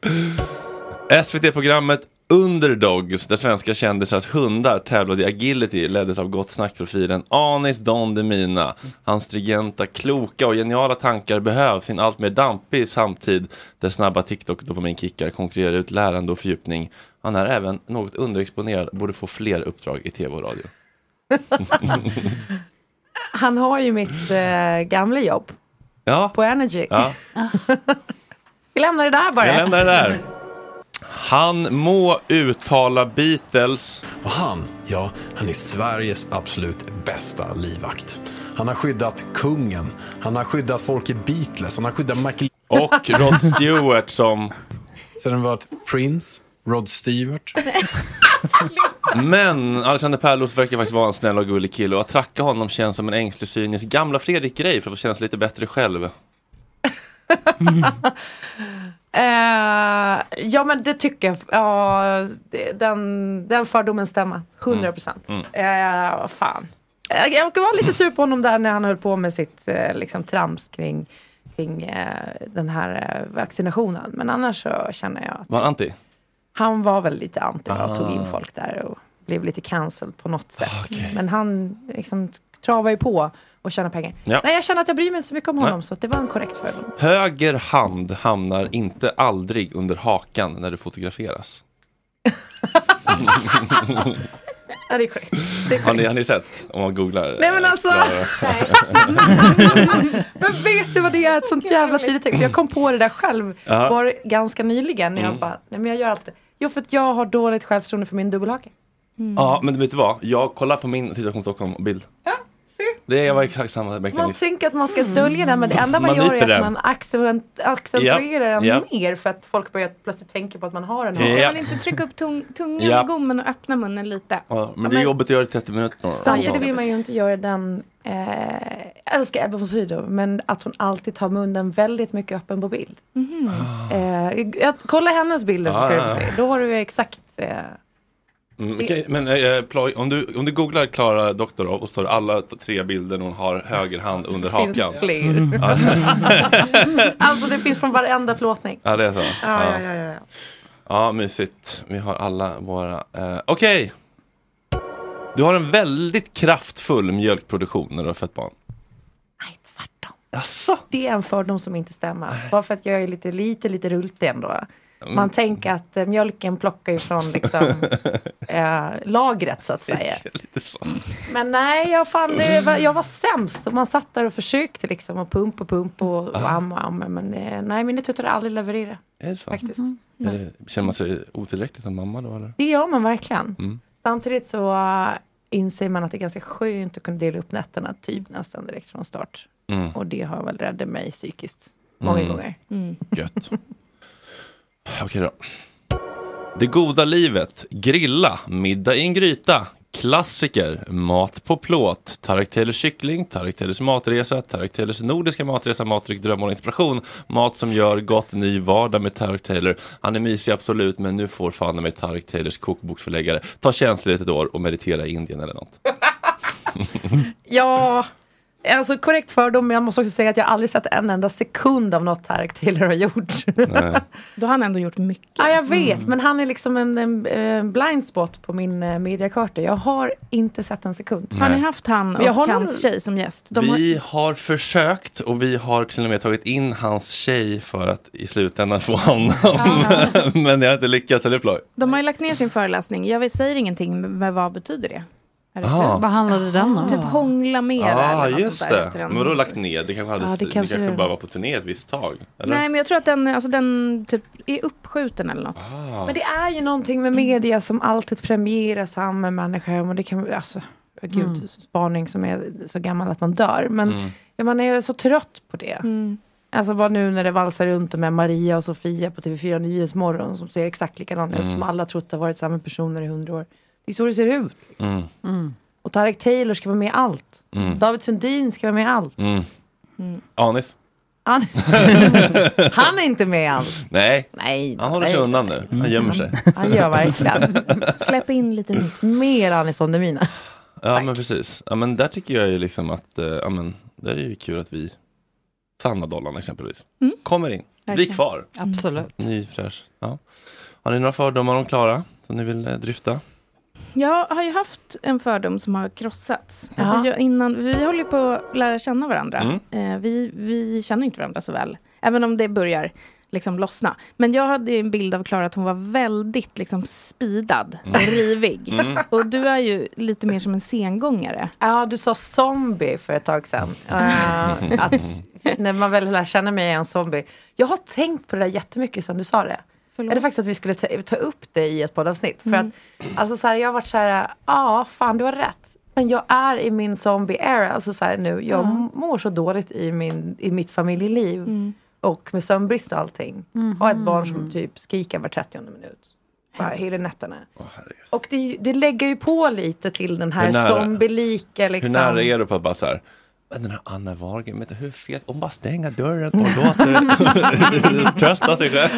SVT-programmet Underdogs, där svenska kändisars hundar tävlade i agility, leddes av Gott Snack-profilen Anis Don Demina. Hans stringenta, kloka och geniala tankar behövs i en allt mer dampig samtid där snabba TikTok-dopaminkickar konkurrerar ut lärande och fördjupning. Han är även något underexponerad, borde få fler uppdrag i tv och radio. Han har ju mitt eh, gamla jobb Ja. på Energy. Ja. Vi lämnar det där bara. Jag lämnar det där. Han må uttala Beatles. Och han, ja, han är Sveriges absolut bästa livvakt. Han har skyddat kungen, han har skyddat folk i Beatles, han har skyddat Michael... Och Rod Stewart som... Sen har det varit Prince, Rod Stewart. Men Alexander Pärlos verkar faktiskt vara en snäll och gullig kille och att tracka honom känns som en ängslig cynisk gamla Fredrik Grej för att få känna sig lite bättre själv. Eh, ja men det tycker jag. Ja, det- den, den fördomen stämmer. 100 procent. Mm. Eh, fan. Eh, Jag var lite sur på honom där när han höll på med sitt eh, liksom, trams kring, kring eh, den här eh, vaccinationen. Men annars så känner jag att Var han anti? han var väl lite anti och tog in Ah. folk där och blev lite cancelled på något sätt. Men han liksom travar ju på och tjänar pengar. Ja. Nej jag känner att jag bryr mig inte så mycket om Nej. honom så att det var en korrekt fördom. Höger hand hamnar inte aldrig under hakan när du fotograferas. Ja det är korrekt. Det är korrekt. Har ni, har ni sett? Om man googlar. Nej, men alltså- Men vet du vad det är? Ett sånt jävla tydligt tecken. För Jag kom på det där själv Ja. bara ganska nyligen. När jag Mm. bara, nej men jag gör alltid det. Jo för att jag har dåligt självförtroende för min dubbelhake. Ja, men vet du vad? Jag kollar på min Situation Stockholm-bild. Se. Det var exakt samma Man mekanism. tänker att man ska dölja det men det enda man, Man gör nyper är att den. man accent- accentuerar Ja, den ja. mer för att folk börjar plötsligt tänka på att man har den Ja. Ska man inte trycka upp tung, tungan Ja. i gommen och öppna munnen lite? Ja, men det är jobbigt att göra i 30 minuter. Samtidigt vill man ju inte göra den, eh, jag älskar Ebba von Sydow, men att hon alltid har munnen väldigt mycket öppen på bild. Eh, jag, kolla hennes bilder så ska Ah. du få se. Då har du ju exakt eh, Mm, okej, men eh, ploj, om, du, om du googlar Klara Doktorov och står alla t- tre bilder hon har höger hand under Det finns hakan. fler. Mm. Ja. Alltså det finns från varenda plåtning. ja, det är så. Ja, ja, ja, ja. Ja, mysigt. Vi har alla våra... Eh, Okej! Du har en väldigt kraftfull mjölkproduktion när du har fött barn. Det är en fördom som inte stämmer. Bara för att jag är lite, lite, lite rultig ändå. Man Mm. tänker att eh, mjölken plockar ju från liksom, eh, lagret så att säga. Lite så. Men nej, jag, fan, det var, jag var sämst. Och man satt där och försökte liksom och pump och pump och, och amma och amma. Men eh, nej, mina tuttar har aldrig levererat. Är det så? Faktiskt. Mm. Är det, känner man sig otillräcklig som mamma då eller? Det gör man verkligen. Mm. Samtidigt så eh, inser man att det är ganska skönt att kunna dela upp nätterna typ nästan direkt från start. Mm. Och det har väl räddat mig psykiskt många Mm. gånger. Gött. Okej då. Det goda livet, grilla, middag i en gryta, klassiker, mat på plåt, Tareq Taylors kyckling, Tareq Taylors matresa, Tareq Taylors nordiska matresa, matdryck, drömmar och inspiration, mat som gör gott ny vardag med Tareq Taylor. Han är mysig absolut, men nu får fan i mig Tareq Taylors kokboksförläggare ta tjänstledigt ett år och meditera i Indien eller något. Ja, Alltså korrekt fördom, men jag måste också säga att jag aldrig sett en enda sekund av något Tarek Taylor har gjort. Då har han ändå gjort mycket. Ja, jag vet. Mm. Men han är liksom en, en, eh, blind spot på min eh, mediakarta. Jag har inte sett en sekund. Har ni Nej. haft han Men jag och har hans tjej som gäst? De har- Vi har försökt och vi har till och med tagit in hans tjej för att i slutändan få honom. Men jag har inte lyckats. Eller ploj. De har ju lagt ner sin föreläsning. Jag vet, säger ingenting, men vad betyder det? Är det Ah. slut? Vad handlade den om? Typ hångla mera Ja, eller något Ah, just sånt där det. efter en- Men då lagt ner? Det kanske, hade, Ja, det det kanske- kanske bara var på turné ett visst tag? Eller? Nej, men jag tror att den, alltså, den typ är uppskjuten eller något. Ah. Men det är ju någonting med media som alltid premierar samma människa. Och det kan, alltså, gud, Mm. spaning som är så gammal att man dör. Men Mm. ja, man är så trött på det. Alltså bara nu när det valsar runt med Maria och Sofia på TV4 Nyhetsmorgon som ser exakt likadana Mm. ut som alla trott har varit samma personer i hundra år. Det är så det ser ut. Mm. Och Tarek Taylor ska vara med i allt. Mm. David Sundin ska vara med i allt. Mm. Anis? Han, han är inte med i allt. Nej. Nej. Han håller sig nej. undan nu. Han gömmer sig. Han gör verkligen. Släpp in lite nytt. Mer Anis Don Demina. Ja men precis. Ja, men där tycker jag ju liksom att, eh, ja men där är det ju kul att vi, Sanna Dollan exempelvis, Mm. kommer in, blir Verkligen. kvar. Mm. Absolut. Ny fräsch. Ja. Har ni några fördomar om Klara som ni vill eh, dryfta? Jag har ju haft en fördom som har krossats. Ja. Alltså jag, innan, vi håller ju på att lära känna varandra. Mm. Eh, vi, vi känner inte varandra så väl, även om det börjar liksom lossna. Men jag hade ju en bild av Klara att hon var väldigt liksom spidad och rivig. Mm. Och du är ju lite mer som en sengångare. Ja, du sa zombie för ett tag sedan. Eh, att när man väl lär känna mig är jag en zombie. Jag har tänkt på det där jättemycket sedan du sa det. Är det faktiskt att vi skulle ta, ta upp det i ett poddavsnitt? För att alltså, så här, jag har varit så här, ja fan du har rätt. Men jag är i min zombie era, alltså så här, nu. Jag Ja. mår så dåligt i, min, i mitt familjeliv. Mm. Mm, Och med sömnbrist och allting. Har ett barn som typ skriker var 30 minut. Bara Hemskt. hela nätterna. och det, det lägger ju på lite till den Hur här nära- zombielika Hur liksom. nära är du på att bara så här, men den här Anna Wahlgren, vet du hur fet, hon bara stänger dörren och låter trösta sig själv.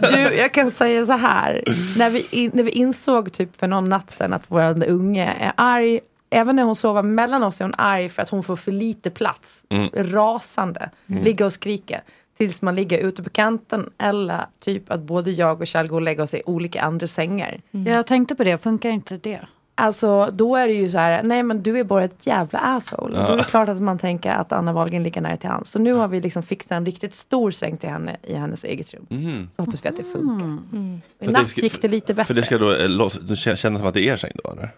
Du, jag kan säga så här. När vi, in, när vi insåg typ för någon natt sedan att vår unge är arg. Även när hon sover mellan oss är hon arg för att hon får för lite plats. Mm. Rasande. Mm. Ligga och skrika. Tills man ligger ute på kanten. Eller typ att både jag och Kjell går och lägger oss i olika andra sängar. mm. Jag tänkte på det, funkar inte det? Alltså då är det ju så här, nej men du är bara ett jävla asshole. Och Då är det Ja. klart att man tänker att Anna Wahlgren ligger nära till hans. Så nu har vi liksom fixat en riktigt stor säng till henne i hennes eget rum. Så hoppas vi att det funkar. Och I Mm. För att natt ska- gick det lite För bättre. det ska då eh, lås- du kän- kännas som att det är er säng då eller?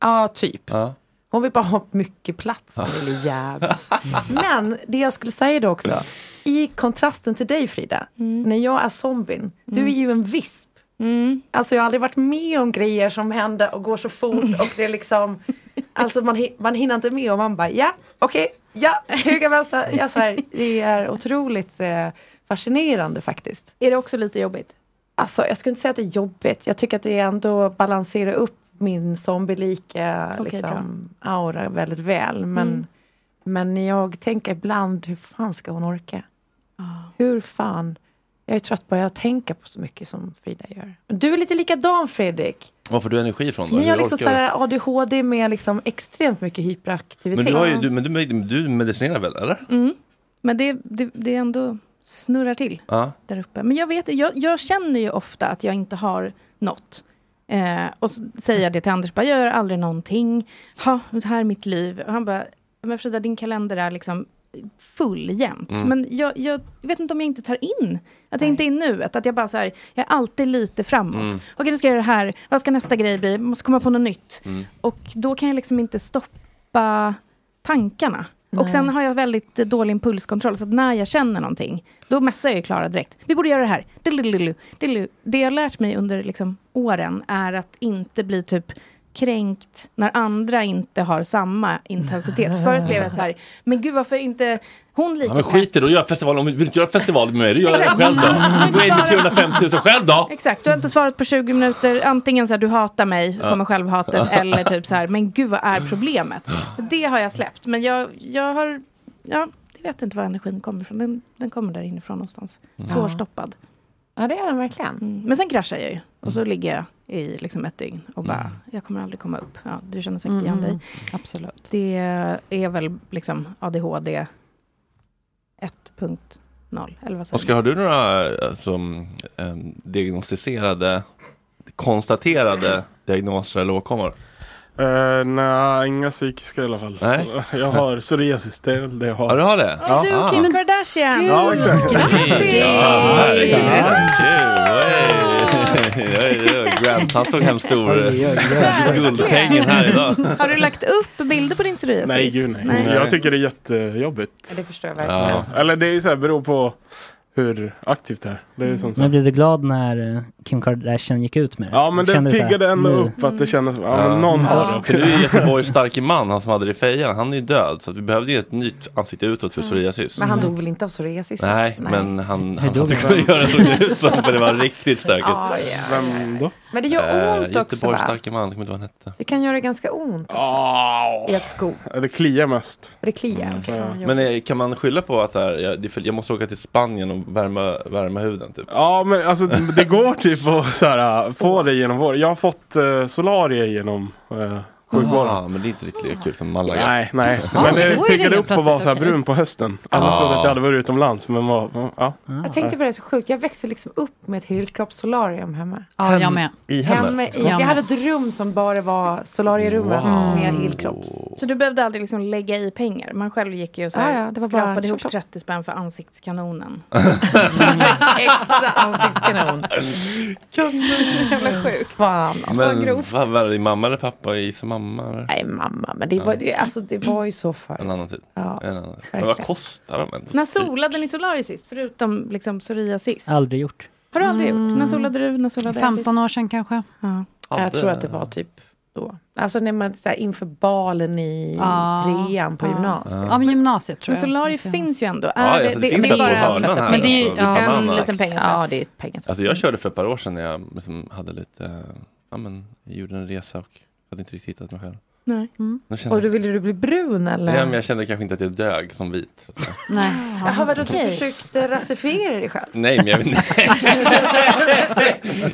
Ja, typ. Ja. Hon vill bara ha mycket plats, Ja. den lille jäveln. Men det jag skulle säga då också, i kontrasten till dig Frida, när jag är zombien, du är ju en visp. Alltså jag har aldrig varit med om grejer som händer och går så fort och det är liksom, alltså man, hi- man hinner inte med och man bara ja, okej, ja, höger, vänster. Ja, så här, det är otroligt eh, fascinerande faktiskt. Är det också lite jobbigt? Alltså jag skulle inte säga att det är jobbigt, jag tycker att det ändå balanserar upp min zombielika Okej, liksom, aura väldigt väl. Men, Mm. men jag tänker ibland, hur fan ska hon orka? Hur fan? Jag är trött på att jag tänker på så mycket som Frida gör. Du är lite likadan Fredrik. Var får du energi ifrån då? Ni har Hur liksom orkar du? såhär ADHD med liksom extremt mycket hyperaktivitet. Men du, har ju, du, men du, du medicinerar väl eller? Mm. Men det, det, det är ändå snurrar till. Ja. där uppe. Men jag, vet, jag, jag känner ju ofta att jag inte har något. Eh, och så säger jag det till Anders, bara, jag gör aldrig någonting. Ha, det här är mitt liv. Och han bara, men Frida, din kalender är liksom full jämt. Mm. Men jag, jag vet inte om jag inte tar in, att jag inte är i nuet. Att jag bara så här, jag är alltid lite framåt. Mm. Okej, nu ska jag göra det här. Vad ska nästa grej bli? Måste komma på något nytt. Och då kan jag liksom inte stoppa tankarna. Nej. Och sen har jag väldigt eh, dålig impulskontroll, så att när jag känner någonting, då messar jag ju Klara direkt. Vi borde göra det här. Dililililu, dililililu. Det jag har lärt mig under liksom, åren är att inte bli typ kränkt när andra inte har samma intensitet. Förut blev jag så här, men gud varför inte hon lika Ja, men skit i det, och gör festival. Om du vill inte göra festival med mig, då gör jag det Exakt. själv då. Mm. Gå in med 305 000 själv då. Exakt, du har inte svarat på 20 minuter. Antingen så här, du hatar mig, Ja. kommer självhatet. Ja. Eller typ så här, men gud vad är problemet? Det har jag släppt, men jag, jag har, ja, jag vet inte var energin kommer ifrån. Den, den kommer där inifrån någonstans. Mm. Svårstoppad. Ja, det är den verkligen. Men sen kraschar jag ju. Och Mm. så ligger jag i liksom ett dygn och bara, jag kommer aldrig komma upp. Ja, du känner säkert igen Mm, dig. Absolut. Det är väl liksom ADHD 1.0. Eller vad säger Oskar, man? har du några alltså, em, diagnostiserade, konstaterade diagnoser eller åkommor? Eh, nej, inga psykiska i alla fall. Nej. Jag har psoriasis, det är väl det jag har. Ja, du har det? Ja. Du, Kim Kardashian! Ah. Ja, exakt. Herregud, oj. Oj, oj, oj. Grandtant tog hem stor eh, guldpengen här idag. Har du lagt upp bilder på din psoriasis? Nej, gud nej. Nej. Jag tycker det är jättejobbigt. Det förstår jag verkligen. Ja. Eller det är ju så här, beror på hur aktivt det är. Det är ju som så Mm. Men här. blev du glad när eh, Kim Kardashian gick ut med det? Ja, men det Kände du så här, piggade ändå nu- upp att det kändes, ja, men någon har Eh, För du är ju Göteborgs starke man, han som hade det i fejan. Han är ju död, så att vi behövde ju ett nytt ansikte utåt för psoriasis. Mm. Men han dog väl inte av psoriasis? Mm. Nej, men han, han dog hade han? kunnat göra det såg det ut som, för det var riktigt stökigt. Eh, Ja, ja, ja, Vem då? Men det gör ont också Göteborgs va? starke man, jag kommer inte ihåg vad han hette. Det kan göra ganska ont också. Ah. I ett sko. Ja, Det kliar mest. Det kliar. Okej, fan, Men eh, kan man skylla på att det här, jag, det är för- jag måste åka till Spanien och värma, värma huden typ? Ja, men alltså det går typ att så här, få det genom vår. Jag har fått uh, solarie genom uh, sjukvården. Ja, men det är inte liksom riktigt lika kul som Malaga. Nej, nej. Ja, Men då är det det piggade helt upp och var så här plötsligt okej. brun på hösten. Alla Ja. trodde att jag hade varit utomlands, men var... Ja. Jag tänkte på det så sjukt. Jag växte liksom upp med ett helkroppssolarium hemma. Ja, jag med. I hemmet? Hemme, i, Jag jag med. hade ett rum som bara var solarierummet Wow. med helkropps. Så du behövde aldrig liksom lägga i pengar? Man själv gick ju och så här, Ah, Ja, ja, det var bara skrapade tjopp, ihop tjopp. 30 spänn för ansiktskanonen. Extra ansiktskanon. Kanon. Jävla sjukt. Fan. alltså, Men vad var det, mamma eller pappa? I som mamma? Eller? Nej, mamma. Men det var, det, alltså, det var ju så förr. En annan tid. Ja, en annan. tid. Men verkligen. vad kostar de ändå? När solade ni solarisist? Förutom liksom psoriasis? Aldrig gjort. Har du aldrig gjort? Mm. När solade du? När solade 15 år sedan kanske? Ja. Ja, jag tror att det var typ då. Alltså när man så här, inför balen i Ja. trean på Ja. gymnasiet. Ja, men gymnasiet Ah. Men solarier finns ju ändå. Ja, Är alltså, det finns är ett på hörnan här, Men det är alltså, lite ja, en bananas. liten pengatvätt. Ja, det är ett pengatvätt. Alltså jag körde för ett par år sedan när jag liksom hade lite, eh, ja men, jag gjorde en resa och hade inte riktigt hittat mig själv. Nej. Mm. Jag kände, Och då ville du bli brun eller? ja, men jag kände kanske inte att jag dög som vit. så att säga. Nej. Jaha, vadå, du försökte rasifiera dig själv? Nej, men jag,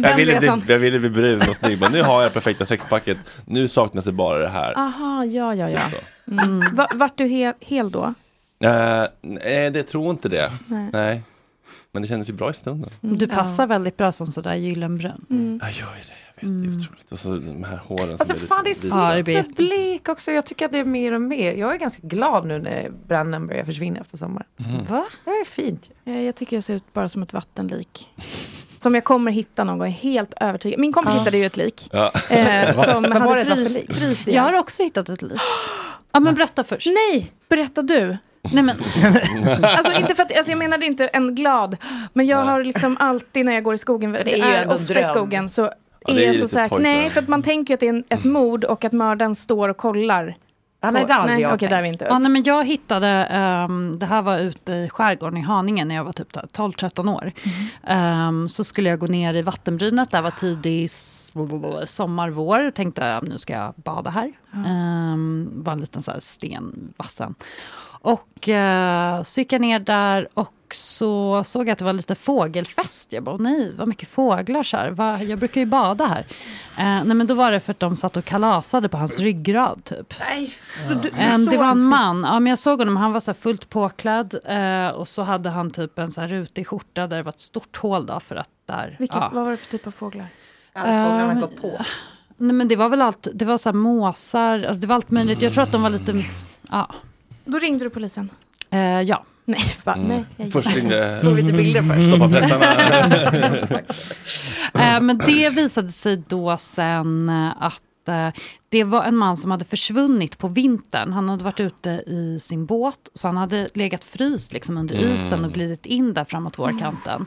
jag, ville resan. bli, jag ville bli brun och snygg. Bara, nu har jag perfekta sexpacket. Nu saknas det bara det här. Aha, ja, ja, ja. Typ Mm. Va- Vart du hel, hel då? Eh, nej, det tror inte det. Nej. Mm. Nej. Men det kändes ju bra i stunden. Du passar Mm. väldigt bra som sådär gyllenbrun. Ja, jag gör ju det. Jag vet, det är otroligt. Och så de här håren som Alltså blir fan det är lite svårt vita. med blek också. Jag tycker att det är mer och mer. Jag är ganska glad nu när branden börjar försvinna efter sommaren. Mm. Va? Det är fint. Eh, Jag, jag tycker jag ser ut bara som ett vattenlik. Som jag kommer hitta någon gång, jag är helt övertygad. Min kompis Ja. hittade ju ett lik. Ja. Eh, som Vad var hade det för fryst, lik? fryst Jag har också hittat ett lik. ja, men berätta först. Nej, berätta du. Nej, men, alltså, inte för att, alltså, jag menade inte en glad, men jag har liksom alltid när jag går i skogen, det, det är ju är ändå en ofta i dröm. skogen, så det är är ju jag så lite säker. pojkdröm. Nej, för att man tänker ju att det är en, ett mord och att mördaren står och kollar. Ja, Och- nej, Okej, där är vi inte Ja, nej, men jag hittade, ehm, det här var ute i skärgården i Haninge när jag var typ 12-13 år. Mm. Ehm, så skulle jag gå ner i vattenbrynet, det här var tidig s- sommar, vår. Tänkte ja, nu ska jag bada här. Ehm, var en liten så här stenvassen. Och eh, så gick jag ner där och så såg jag att det var lite fågelfest. Jag bara, "Åh, nej, vad mycket fåglar så här. Va, jag brukar ju bada här. Eh, nej, men då var det för att de satt och kalasade på hans ryggrad typ. Nej, En, eh, det var en man. Ja, men jag såg honom. Han var så här fullt påklädd. Eh, och så hade han typ en så här rutig skjorta där det var ett stort hål. Då, för att där, Vilka, ja. Vad var det för typ av fåglar? Ehm, Nej, men det var väl allt. Det var så här måsar. Alltså, det var allt möjligt. Jag tror att de var lite... Ja. Då ringde du polisen? Eh, ja. Nej, va? nej. jag- Mm. Först ringde... Tog lite bilder först. Stoppa pressarna. Eh, men det visade sig då sen eh, att eh, det var en man som hade försvunnit på vintern. Han hade varit ute i sin båt, så han hade legat fryst liksom under Mm. isen och glidit in där framåt vårkanten.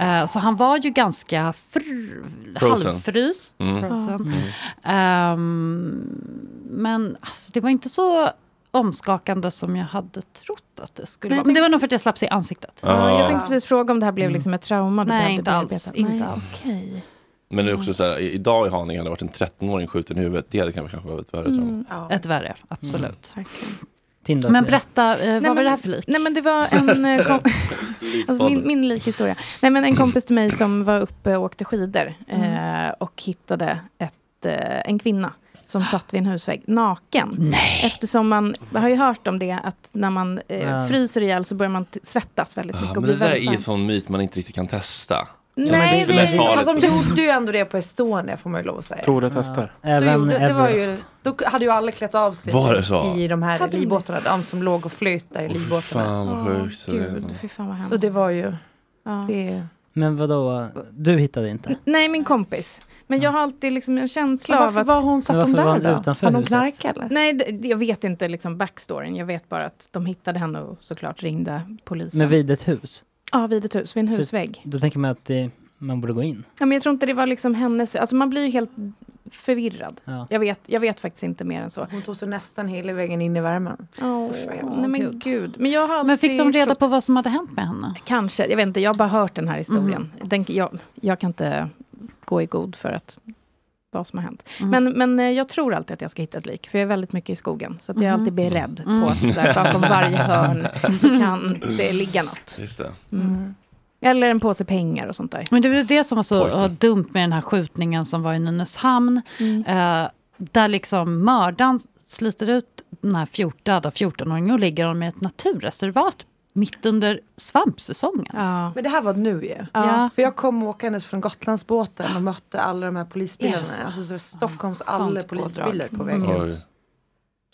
Eh, Så han var ju ganska fr- Frozen. halvfryst. Mm. Frozen. Mm. Ehm, men alltså, det var inte så omskakande som jag hade trott att det skulle Men vara. jag Men det tänk- Mm. var nog för att jag slapp se ansiktet. Ja, jag Jag tänkte precis fråga om det här blev Mm. liksom ett trauma. du Nej, behövde inte alls, bearbeta. inte Nej, alls. okej. Men det är också så här, i- idag i Haninge Mm. hade det varit en 13-åring skjuten i huvudet. Det hade kanske kanske varit värre. tror jag. Ett värre, absolut. Tinder. Men berätta, eh, vad Nej, var men- det här för lik? Nej men det var en... eh, Kom- alltså min, min likhistoria. Nej men en kompis till mig som var uppe och åkte skidor Mm. eh, och hittade ett, eh, en kvinna som satt vid en husvägg naken. Nej. Eftersom man man har ju hört om det att när man eh, Ja. fryser ihjäl så börjar man t- svettas väldigt mycket. Ja, och men blir det där väldigt är en varm. sån myt man inte riktigt kan testa. Nej, Ja, men det är så lätt farligt. Alltså de gjorde ju ändå det på Estonia får man ju lov att säga. Tore testar. Då, Även gjorde, det var ju, Everest. då hade ju alla klätt av sig Var det så? i de här Hade de livbåtarna. De som låg och flöt där i livbåtarna. fan vad sjukt. det är. Gud, fy fan vad Så hemskt. det var ju... Det, Men vadå, du hittade inte? Nej, min kompis. Men jag har alltid liksom en känsla Men av varför att... var hon- satt Men varför hon där var hon då? utanför Har hon huset? knarkat eller? Nej, det- det- jag vet inte liksom backstoryn. Jag vet bara att de hittade henne och såklart ringde polisen. Men vid ett hus? Ja, vid ett hus, vid en För husvägg. Då tänker man att eh, man borde gå in. Ja, men jag tror inte det var liksom hennes... Alltså man blir ju helt förvirrad. Ja. Jag, vet, jag vet faktiskt inte mer än så. hon tog sig nästan hela vägen in i värmen. Åh, vad hemskt. nej men gud. Men, jag har alltid Men fick de reda trott- på vad som hade hänt med henne? Mhm. Kanske, jag vet inte. Jag har bara hört den här historien. Den, jag, jag kan inte gå i god för att vad som har hänt. Mm. Men, men eh, jag tror alltid att jag ska hitta ett lik, för jag är väldigt mycket i skogen. Så att jag är alltid beredd Mm. på att så här, bakom varje hörn så kan det ligga något. Just det. Mm. Eller en påse pengar och sånt där. Men det var ju det som var så var dumt med den här skjutningen som var i Nynäshamn. Mm. Eh, där liksom mördaren sliter ut den här 14, döda 14-åringen och ligger honom i ett naturreservat mitt under svampsäsongen. Men det här var nu ju. Ja. För jag kom åkandes från Gotlandsbåten och mötte alla de här Är polisbilarna. det så? Alltså så var Stockholms Ja, alla sånt pådrag. polisbilar på vägen. Mm. Oj.